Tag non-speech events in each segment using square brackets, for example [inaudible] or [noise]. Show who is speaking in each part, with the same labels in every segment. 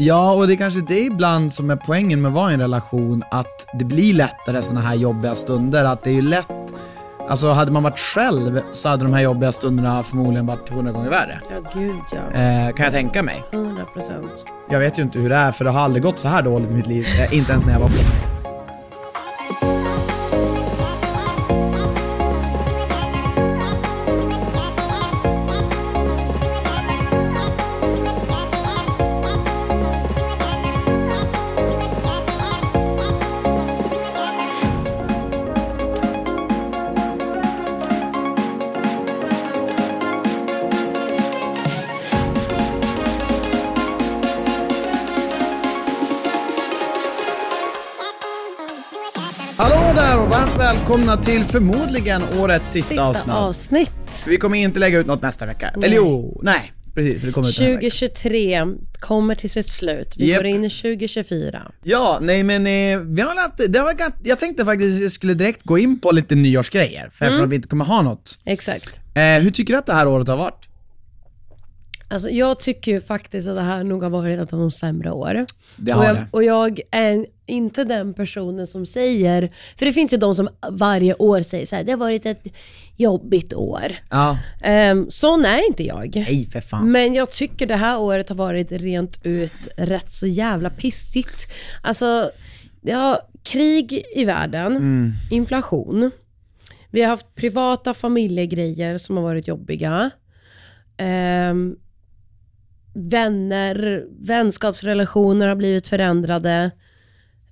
Speaker 1: Ja, och det är kanske det ibland som är poängen med att vara i en relation, att det blir lättare sådana här jobbiga stunder. Att det är ju lätt, alltså hade man varit själv så hade de här jobbiga stunderna förmodligen varit hundra gånger värre.
Speaker 2: Ja, gud ja.
Speaker 1: Eh, kan jag tänka mig.
Speaker 2: 100 procent.
Speaker 1: Jag vet ju inte hur det är, för det har aldrig gått så här dåligt i mitt liv. Eh, inte ens när jag var Hallå där och varmt välkomna till förmodligen årets sista,
Speaker 2: Sista
Speaker 1: avsnitt.
Speaker 2: avsnitt.
Speaker 1: Vi kommer inte lägga ut något nästa vecka. Eller jo, nej. Precis, för det kommer ut den här veckan.
Speaker 2: 2023 kommer till sitt slut. Vi
Speaker 1: Japp.
Speaker 2: går in i 2024.
Speaker 1: Ja, nej men eh, vi har väl haft, det har varit, gatt- jag tänkte faktiskt att jag skulle direkt gå in på lite nyårsgrejer, för
Speaker 2: Mm.
Speaker 1: eftersom vi inte kommer ha något.
Speaker 2: Exakt.
Speaker 1: Eh, hur tycker du att det här året har varit?
Speaker 2: Alltså, jag tycker ju faktiskt att det här nog har varit ett av de sämre år.
Speaker 1: Det
Speaker 2: och,
Speaker 1: har
Speaker 2: jag,
Speaker 1: det.
Speaker 2: och jag är inte den personen som säger, för det finns ju de som varje år säger så här, det har varit ett jobbigt år.
Speaker 1: Ja.
Speaker 2: Um, sån är inte jag.
Speaker 1: Nej för fan.
Speaker 2: Men jag tycker det här året har varit rent ut rätt så jävla pissigt. Alltså, det har krig i världen, inflation. Vi har haft privata familjegrejer som har varit jobbiga. Ehm, vänner, vänskapsrelationer har blivit förändrade.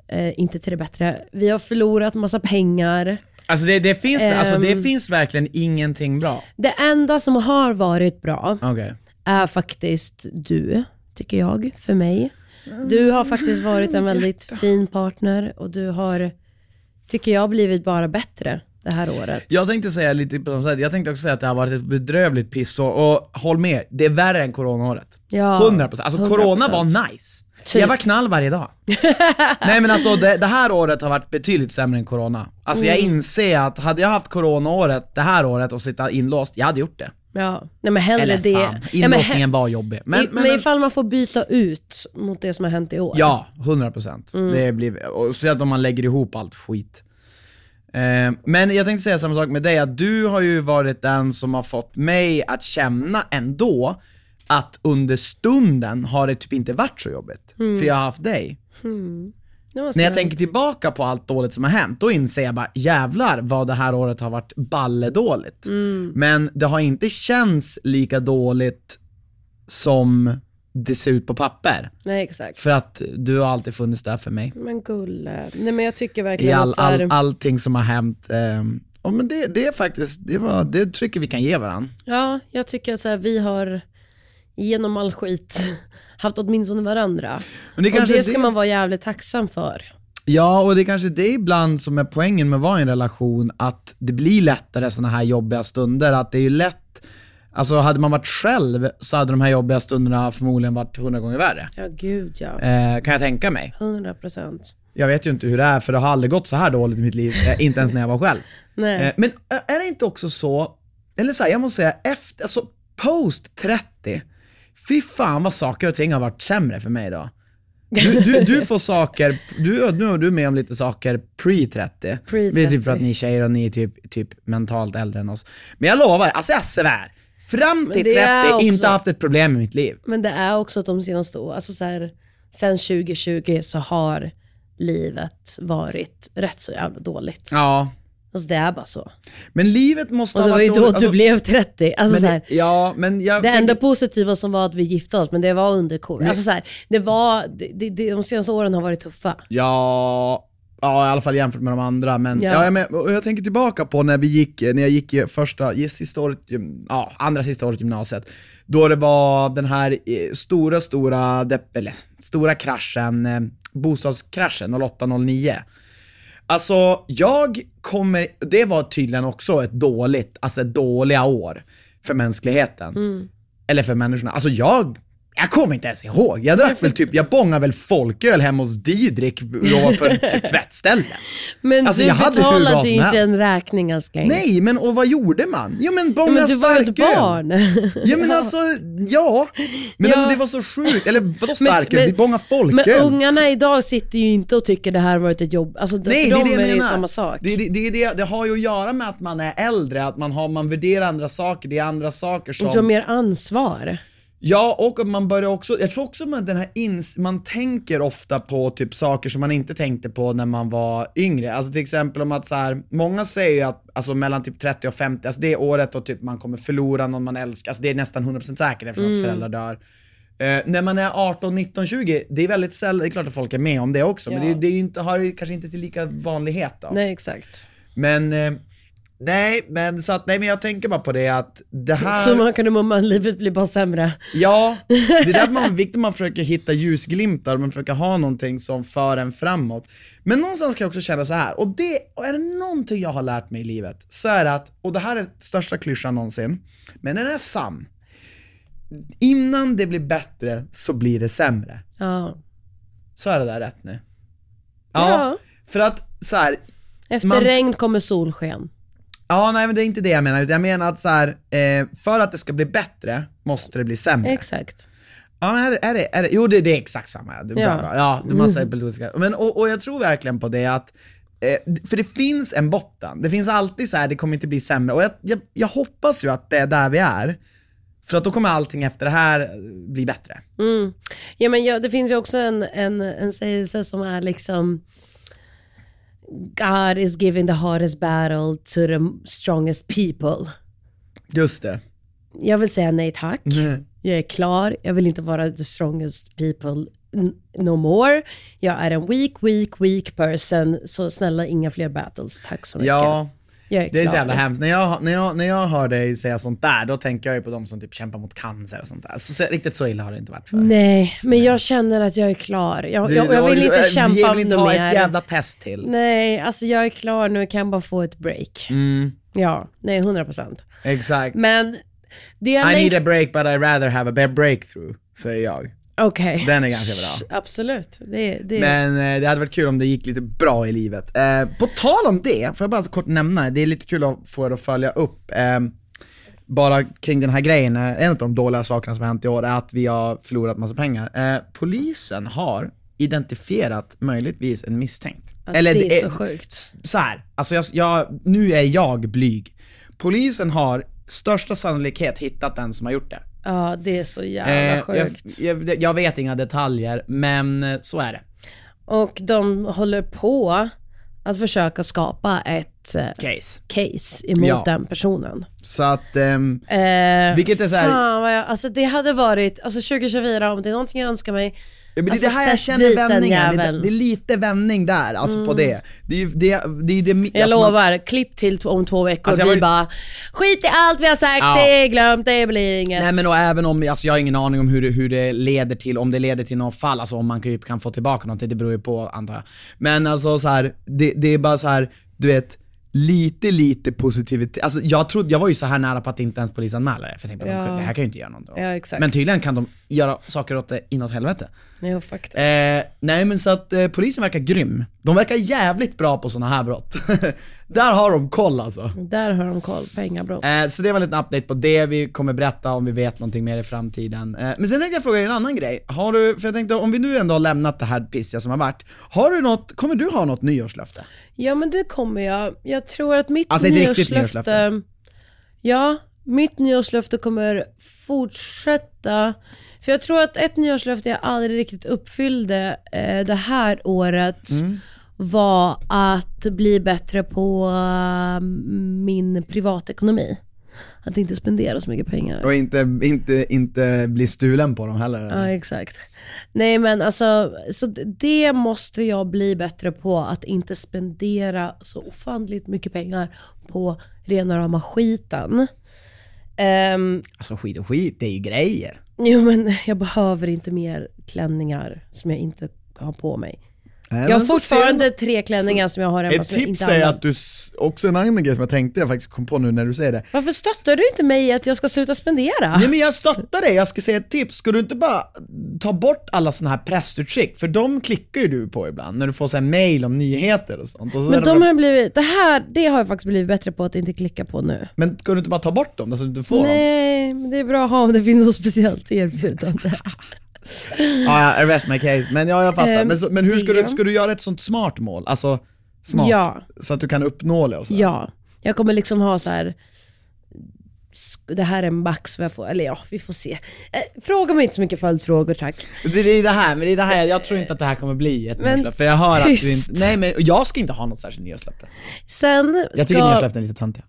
Speaker 2: Eh, inte till det bättre. Vi har förlorat massa pengar.
Speaker 1: Alltså det, det, finns, alltså det
Speaker 2: Ehm.
Speaker 1: finns verkligen ingenting bra.
Speaker 2: Det enda som har varit bra,
Speaker 1: Okej.
Speaker 2: är faktiskt du, tycker jag, för mig. Du har faktiskt varit en väldigt fin partner och du har, tycker jag, blivit bara bättre det här året.
Speaker 1: Jag tänkte säga lite på de sätt, jag tänkte också säga att det har varit ett bedrövligt pissår, och håll med, det är värre än coronaåret.
Speaker 2: Ja,
Speaker 1: 100%. Alltså corona
Speaker 2: 100%.
Speaker 1: var nice.
Speaker 2: Typ.
Speaker 1: Jag var knall
Speaker 2: [laughs]
Speaker 1: varje dag. Nej men alltså det, det här året har varit betydligt sämre än corona. Alltså jag
Speaker 2: Mm.
Speaker 1: inser att hade jag haft coronaåret det här året och sitta inlåst, jag hade gjort det.
Speaker 2: Ja. Nej men hellre
Speaker 1: Eller
Speaker 2: det.
Speaker 1: fan,
Speaker 2: ja, men,
Speaker 1: inlåsningen var jobbig. Men,
Speaker 2: men,
Speaker 1: men,
Speaker 2: men ifall man får byta ut mot det som har hänt i år.
Speaker 1: ja, 100%. Det blir, och speciellt om man lägger ihop allt skit. Eh, Men jag tänkte säga samma sak med dig, att du har ju varit den som har fått mig att känna ändå att under stunden har det typ inte varit så jobbigt. För jag har haft dig.
Speaker 2: Nu måste
Speaker 1: När jag tänker tillbaka på allt dåligt som har hänt, då inser jag bara jävlar vad det här året har varit balledåligt. Men det har inte känts lika dåligt som det ser ut på papper.
Speaker 2: Nej exakt.
Speaker 1: För att du har alltid funnits där för mig.
Speaker 2: Men gulle. Nej men jag tycker
Speaker 1: I
Speaker 2: verkligen
Speaker 1: all,
Speaker 2: att så här,
Speaker 1: all, allting som har hänt. ehm, ja, men det, det är faktiskt, det, var, det tycker vi kan ge varandra.
Speaker 2: Ja, jag tycker att så här, vi har genom all skit [laughs] haft åtminstone varandra.
Speaker 1: Men det är
Speaker 2: och
Speaker 1: kanske
Speaker 2: det ska
Speaker 1: det-
Speaker 2: man vara jävligt tacksam för.
Speaker 1: Ja, och det är kanske det ibland som är poängen med att vara i en relation, att det blir lättare sådana här jobbiga stunder. Att det är ju lätt, alltså hade man varit själv så hade de här jobbiga stunderna förmodligen varit hundra gånger värre.
Speaker 2: Ja, gud ja.
Speaker 1: Eh, kan jag tänka mig.
Speaker 2: 100 procent.
Speaker 1: Jag vet ju inte hur det är, för det har aldrig gått så här dåligt i mitt liv, eh, inte ens när jag
Speaker 2: [laughs]
Speaker 1: var själv.
Speaker 2: Nej.
Speaker 1: Eh, men ä- är det inte också så, eller så här, jag måste säga, efter, alltså post 30, fy fan vad saker och ting har varit sämre för mig idag. Du, du,
Speaker 2: [laughs]
Speaker 1: du får saker, du, nu är du med om lite saker pre-30.
Speaker 2: Pre-
Speaker 1: Det är typ för att ni är tjejer och ni är typ, typ mentalt äldre än oss. Men jag lovar, alltså jag svär. Fram till
Speaker 2: det
Speaker 1: 30,
Speaker 2: är
Speaker 1: inte
Speaker 2: också-
Speaker 1: haft ett problem i mitt liv.
Speaker 2: Men det är också att de senaste åren, alltså så här, sen 2020 så har livet varit rätt så jävla dåligt.
Speaker 1: Ja.
Speaker 2: Alltså det är bara så.
Speaker 1: Men livet måste
Speaker 2: Och
Speaker 1: ha
Speaker 2: det var ju
Speaker 1: varit
Speaker 2: då
Speaker 1: dåligt. Alltså,
Speaker 2: du blev 30. Alltså
Speaker 1: men,
Speaker 2: så här,
Speaker 1: Ja, men jag
Speaker 2: det
Speaker 1: tänker-
Speaker 2: enda positiva som var att vi gifte oss, men det var under covid. Alltså så här, det var, det, det, det- de senaste åren har varit tuffa.
Speaker 1: Ja, ja i alla fall jämfört med de andra. Men,
Speaker 2: Ja.
Speaker 1: ja. jag, men, och jag tänker tillbaka på när vi gick, när jag gick i första, i sista året, gym- ja, andra sista året gymnasiet. Då det var den här eh, stora, stora, depp, eller, stora kraschen, eh, bostadskraschen 0809. Alltså, jag kommer, det var tydligen också ett dåligt, alltså ett dåliga år för mänskligheten. Eller för människorna. Alltså jag, jag kommer inte ens ihåg. Jag drack väl typ, jag bångade väl folköl hemma hos Didrik
Speaker 2: [laughs]
Speaker 1: ovanför typ tvättstället.
Speaker 2: Men
Speaker 1: Alltså,
Speaker 2: du
Speaker 1: jag hade hur bra
Speaker 2: betalade ju
Speaker 1: som
Speaker 2: inte
Speaker 1: helst.
Speaker 2: en räkning älskling.
Speaker 1: Nej, men och vad gjorde man? Jo men bånga
Speaker 2: Ja, men du var ju ett
Speaker 1: starköl.
Speaker 2: barn. [laughs]
Speaker 1: Ja men alltså, ja. Men
Speaker 2: Ja.
Speaker 1: alltså det var så sjukt. Eller vadå
Speaker 2: Men-
Speaker 1: starköl? Vi
Speaker 2: men-
Speaker 1: bångade folköl.
Speaker 2: Men ungarna idag sitter ju inte och tycker det här varit ett jobb. Alltså, Nej, för dem är det ju samma sak.
Speaker 1: Det, det, det, är det, det har ju att göra med att man är äldre, att man, har, man värderar andra saker, det är andra saker som...
Speaker 2: Och så mer ansvar.
Speaker 1: Ja, och att man börjar också, jag tror också man, den här ins, man tänker ofta på typ saker som man inte tänkte på när man var yngre. Alltså till exempel om att så här, många säger ju att alltså mellan typ 30 och 50, alltså det är året då typ man kommer förlora någon man älskar, alltså det är nästan 100% säkert eftersom
Speaker 2: Mm.
Speaker 1: att föräldrar dör. Eh, när man är 18, 19, 20, det är väldigt sällan, det är klart att folk är med om det också, men det, är- det är ju inte, har ju kanske inte till lika vanlighet då.
Speaker 2: Nej, exakt.
Speaker 1: Men, eh, nej men så att, nej men jag tänker bara på det att det här...
Speaker 2: Så man kan mumma, livet blir bara sämre.
Speaker 1: Ja, det är därför man viktigt man försöker hitta ljusglimtar, man försöker ha någonting som för en framåt. Men någonstans kan jag också känna så här, och det, och är det någonting jag har lärt mig i livet, så är det att, och det här är största klyschan någonsin, men den är sann. Innan det blir bättre så blir det sämre.
Speaker 2: Ja.
Speaker 1: Så är det där rätt nu?
Speaker 2: Ja.
Speaker 1: För att så här,
Speaker 2: Efter
Speaker 1: Man-
Speaker 2: regn kommer solsken.
Speaker 1: ja nej men det är inte det jag menar, utan jag menar att så här, eh, för att det ska bli bättre måste det bli sämre.
Speaker 2: Exakt.
Speaker 1: Ja, men är, det- är det, är det, jo det, det är exakt samma. Du,
Speaker 2: Ja. Mm.
Speaker 1: ja. Bra. ja, det är massa epileptiska. Men, och, och jag tror verkligen på det att, eh, för det finns en botten. Det finns alltid så här, det kommer inte bli sämre. Och jag, jag, jag hoppas ju att det är där vi är. För att då kommer allting efter det här eh, bli bättre.
Speaker 2: Ja, men ja, det finns ju också en, en, en sägelse som är liksom God is giving the hardest battle to the strongest people.
Speaker 1: Just det.
Speaker 2: Jag vill säga nej tack.
Speaker 1: Mm.
Speaker 2: Jag är klar. Jag vill inte vara the strongest people n- no more. Jag är en weak, weak, weak person. Så snälla inga fler battles. Tack så mycket.
Speaker 1: Ja,
Speaker 2: jag är
Speaker 1: det är
Speaker 2: klar.
Speaker 1: så jävla hemskt. När jag, när, jag, när jag hör dig säga sånt där, då tänker jag ju på de som typ kämpar mot cancer och sånt där. Så, så, riktigt så illa har det inte varit för.
Speaker 2: Nej, men jag känner att jag är klar. Jag,
Speaker 1: Du-
Speaker 2: Mm. jag, jag
Speaker 1: du-
Speaker 2: vill inte
Speaker 1: du-
Speaker 2: kämpa
Speaker 1: Vi vill inte ha
Speaker 2: mer.
Speaker 1: ett jävla test till.
Speaker 2: Nej, alltså jag är klar nu. Kan jag bara få ett break?
Speaker 1: Mm.
Speaker 2: Ja, nej, 100 procent.
Speaker 1: Exakt.
Speaker 2: Men det jag
Speaker 1: I need
Speaker 2: längtar...
Speaker 1: a break but I rather have a bad breakthrough, säger jag.
Speaker 2: Okej.
Speaker 1: Den är ganska bra.
Speaker 2: Absolut. Det, det...
Speaker 1: Men eh, det hade varit kul om det gick lite bra i livet. Eh, på tal om det, får jag bara så kort nämna, det Det är lite kul att få er att följa upp. Eh, bara kring den här grejen, eh, en av de dåliga sakerna som har hänt i år är att vi har förlorat massa pengar. Eh, polisen har identifierat möjligtvis en misstänkt.
Speaker 2: det är så
Speaker 1: eh,
Speaker 2: sjukt.
Speaker 1: s- Så här, alltså jag, jag, nu är jag blyg. Polisen har största sannolikhet hittat den som har gjort det.
Speaker 2: Ja, det är så jävla
Speaker 1: Eh, jag,
Speaker 2: sjukt.
Speaker 1: jag, jag vet inga detaljer, men eh, så är det.
Speaker 2: Och de håller på att försöka skapa ett eh,
Speaker 1: Case.
Speaker 2: case emot
Speaker 1: Ja.
Speaker 2: den personen.
Speaker 1: Så att, ehm,
Speaker 2: Eh,
Speaker 1: vilket är såhär,
Speaker 2: Fan vad jag, alltså det hade varit, alltså 2024 om det är någonting jag önskar mig,
Speaker 1: ja, men det,
Speaker 2: alltså,
Speaker 1: det här jag
Speaker 2: sätt
Speaker 1: känner
Speaker 2: dit den
Speaker 1: vändningen, det,
Speaker 2: jäveln. Mm.
Speaker 1: det är lite vändning där, alltså på det. Det är ju det, det, är ju det
Speaker 2: jag lovar, klipp till t- om två veckor,
Speaker 1: Alltså, jag
Speaker 2: vi
Speaker 1: var-
Speaker 2: bara skit i allt vi har sagt,
Speaker 1: Ja.
Speaker 2: det är glömt, det blir inget.
Speaker 1: Nej men och även om, alltså jag har ingen aning om hur det, hur det leder till, om det leder till något fall, alltså om man kan, kan få tillbaka någonting, det beror ju på antar jag. Men alltså så här, det, det är bara så här, du vet, lite lite positivitet. Alltså jag trodde, jag var ju så här nära på att inte ens polisanmäla det, för jag tänkte
Speaker 2: Ja.
Speaker 1: ja. det här kan ju inte göra någonting åt."
Speaker 2: Ja, exakt.
Speaker 1: Men tydligen kan de göra saker åt det inåt helvete.
Speaker 2: Jo, faktiskt.
Speaker 1: Eh, nej men så att eh, polisen verkar grym. De verkar jävligt bra på såna här brott. [laughs] Där har de koll alltså.
Speaker 2: Där har de koll, pengabrott.
Speaker 1: Eh, så det var en liten update på det, vi kommer berätta om vi vet någonting mer i framtiden. Eh, men sen tänkte jag fråga dig en annan grej. Har du, för jag tänkte om vi nu ändå har lämnat det här pissiga som har varit. Har du något, kommer du ha något nyårslöfte?
Speaker 2: Ja men det kommer jag. Jag tror att mitt
Speaker 1: Alltså, ett riktigt
Speaker 2: nyårslöfte...
Speaker 1: nyårslöfte.
Speaker 2: Ja, mitt nyårslöfte kommer fortsätta. För jag tror att ett nyårslöfte jag aldrig riktigt uppfyllde eh, det här året
Speaker 1: Mm.
Speaker 2: var att bli bättre på eh, min privatekonomi. Att inte spendera så mycket pengar.
Speaker 1: Och inte, inte, inte bli stulen på dem heller?
Speaker 2: Ja, exakt. Nej men alltså, så d- det måste jag bli bättre på. Att inte spendera så ofantligt mycket pengar på rena rama skiten. Ehm, [laughs]
Speaker 1: Alltså skit och skit, det är ju grejer.
Speaker 2: jo men jag behöver inte mer klänningar som jag inte har på mig.
Speaker 1: Eh,
Speaker 2: jag har fortfarande tre klänningar som jag har hemma
Speaker 1: Ett
Speaker 2: som jag
Speaker 1: tips
Speaker 2: inte
Speaker 1: är
Speaker 2: använt.
Speaker 1: att du, s- också en annan grej som jag tänkte, jag faktiskt kom på nu när du säger det.
Speaker 2: Varför stöttar du inte mig i att jag ska sluta spendera?
Speaker 1: Nej men jag stöttar dig, jag ska säga ett tips. Ska du inte bara ta bort alla såna här pressutkskick? För de klickar ju du på ibland, när du får så här mail om nyheter och sånt. Och så är
Speaker 2: Men
Speaker 1: det
Speaker 2: de
Speaker 1: bara-
Speaker 2: har blivit, det här det har jag faktiskt blivit bättre på att inte klicka på nu.
Speaker 1: Men ska du inte bara ta bort dem, alltså du får dem?
Speaker 2: Nej, men det är bra att ha om det finns något speciellt erbjudande.
Speaker 1: Ah, Ja, ja, rest my case. Men ja, jag fattar.
Speaker 2: Ehm,
Speaker 1: men, så, men hur ska
Speaker 2: det-
Speaker 1: du, ska du göra ett sånt smart mål? Alltså, smart.
Speaker 2: Ja.
Speaker 1: Så att du kan uppnå det och
Speaker 2: [laughs]
Speaker 1: så.
Speaker 2: Ja, jag kommer liksom ha så här. sk- Det här är max vad jag får, eller ja, vi får se. Eh, fråga mig inte så mycket följdfrågor tack.
Speaker 1: Det, det är det här, men det är det här, jag tror inte att det här kommer bli ett
Speaker 2: Men
Speaker 1: nyårslöfte. För jag hör att du
Speaker 2: tyst.
Speaker 1: inte, nej men jag ska inte ha något särskilt nyårslöfte.
Speaker 2: Sen,
Speaker 1: Jag tycker
Speaker 2: ska,
Speaker 1: nyårslöften är lite töntiga.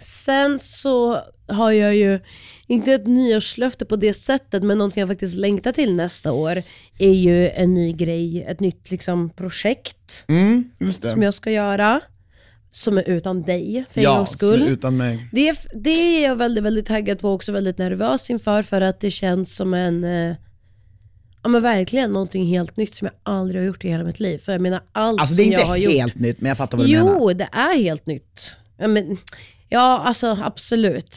Speaker 2: sen så har jag ju, inte ett nyårslöfte på det sättet, men någonting jag faktiskt längtar till nästa år är ju en ny grej, ett nytt liksom projekt
Speaker 1: Mm, just det.
Speaker 2: som jag ska göra. Som är utan dig för en
Speaker 1: ja,
Speaker 2: gångs
Speaker 1: som är
Speaker 2: skull.
Speaker 1: utan mig.
Speaker 2: Det, det är jag väldigt, väldigt taggad på och också väldigt nervös inför för att det känns som en, eh, ja men verkligen någonting helt nytt som jag aldrig har gjort i hela mitt liv. För jag menar allt
Speaker 1: Alltså det är
Speaker 2: som
Speaker 1: inte
Speaker 2: jag har gjort.
Speaker 1: helt nytt, men jag fattar vad du menar.
Speaker 2: Jo, det är helt nytt. Ja, men, ja alltså absolut.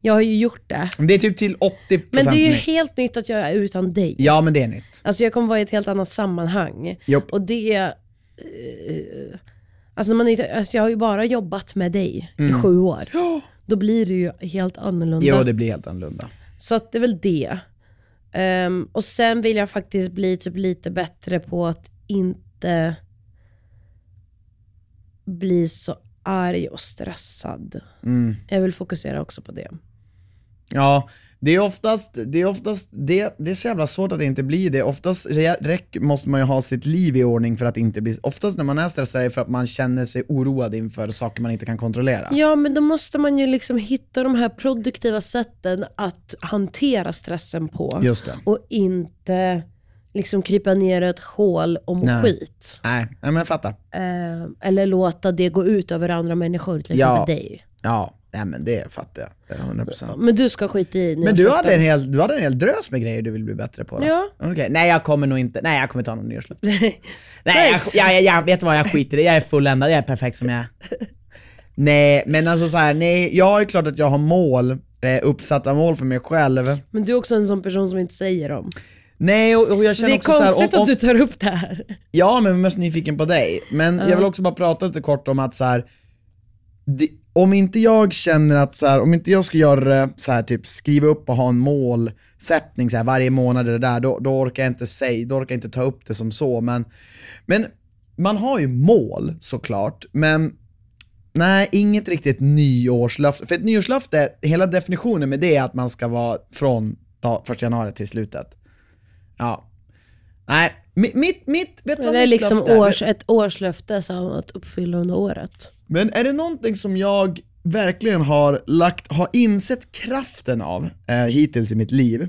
Speaker 2: Jag har ju gjort det.
Speaker 1: Men Det är typ till 80%
Speaker 2: Men det är ju
Speaker 1: nytt.
Speaker 2: helt nytt att jag är utan dig.
Speaker 1: Ja men det är nytt.
Speaker 2: Alltså jag kommer vara i ett helt annat sammanhang.
Speaker 1: Jopp.
Speaker 2: Och det... Eh, alltså, när man, inte- alltså jag har ju bara jobbat med dig i sju år. Då blir det ju helt annorlunda.
Speaker 1: Jo det blir helt annorlunda.
Speaker 2: Så att det är väl det. Ehm, och sen vill jag faktiskt bli typ lite bättre på att inte bli så arg och stressad. Jag vill fokusera också på det.
Speaker 1: Ja, det är oftast, det är oftast, det, det är så jävla svårt att det inte blir det. Oftast rä- räck, måste man ju ha sitt liv i ordning för att inte bli, oftast när man är stressad är det för att man känner sig oroad inför saker man inte kan kontrollera.
Speaker 2: Ja, men då måste man ju liksom hitta de här produktiva sätten att hantera stressen på.
Speaker 1: Just det.
Speaker 2: Och inte liksom krypa ner i ett hål och må
Speaker 1: Nej.
Speaker 2: skit.
Speaker 1: Nej, nej men jag fattar.
Speaker 2: Ehm, eller låta det gå ut över andra människor, till
Speaker 1: Ja.
Speaker 2: exempel dig.
Speaker 1: Ja, nej men det fattar jag. 100%.
Speaker 2: Men du ska skita i
Speaker 1: Men du
Speaker 2: nyårslöften.
Speaker 1: hade, en hel, du hade en hel drös med grejer du vill bli bättre på då?
Speaker 2: Ja.
Speaker 1: Okej, nej jag kommer nog inte, nej jag kommer inte ha någon nyårslöfte. [laughs] Nej,
Speaker 2: Nice.
Speaker 1: jag, jag, jag, jag vet vad, jag skiter i det. Jag är fulländad, jag är perfekt
Speaker 2: [laughs]
Speaker 1: som jag är. Nej, men alltså så här, nej, jag är klart att jag har mål, eh, uppsatta mål för mig själv.
Speaker 2: Men du är också en sån person som inte säger dem.
Speaker 1: Nej, och, och jag
Speaker 2: det
Speaker 1: känner
Speaker 2: är
Speaker 1: också så här,
Speaker 2: konstigt
Speaker 1: om, om,
Speaker 2: att du tar upp det här.
Speaker 1: Ja, men jag är mest nyfiken på dig. Men jag vill också bara prata lite kort om att så här, det, om inte jag känner att så här, om inte jag ska göra det så här, typ skriva upp och ha en målsättning så här, varje månad eller där, då, då orkar jag inte säga, då orkar jag inte ta upp det som så. Men, men man har ju mål såklart, men Nej, inget riktigt nyårslöfte. För ett nyårslöfte, hela definitionen med det är att man ska vara från dag, 1 januari till slutet. Ja. Nej, mi- mitt, mitt, vet du vad
Speaker 2: Det är
Speaker 1: mitt
Speaker 2: liksom
Speaker 1: löfte är?
Speaker 2: års, ett årslöfte så att uppfylla under året.
Speaker 1: Men är det någonting som jag verkligen har, lagt, har insett kraften av eh, hittills i mitt liv,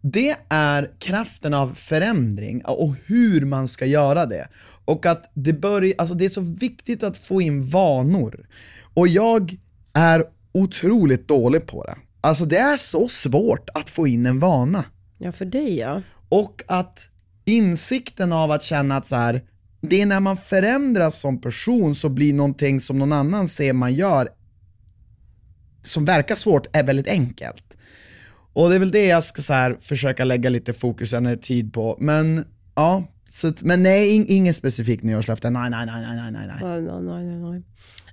Speaker 1: det är kraften av förändring och hur man ska göra det. Och att det, börj- alltså det är så viktigt att få in vanor. Och jag är otroligt dålig på det. Alltså det är så svårt att få in en vana.
Speaker 2: Ja, för dig ja.
Speaker 1: Och att insikten av att känna att så här, det är när man förändras som person så blir någonting som någon annan ser man gör som verkar svårt är väldigt enkelt. Och det är väl det jag ska så här, försöka lägga lite fokus och energi på. Men ja, Så att, men nej, in, inget specifikt nyårslöfte. Nej, nej, nej, nej, nej, nej.
Speaker 2: Nej, nej, nej, nej, nej.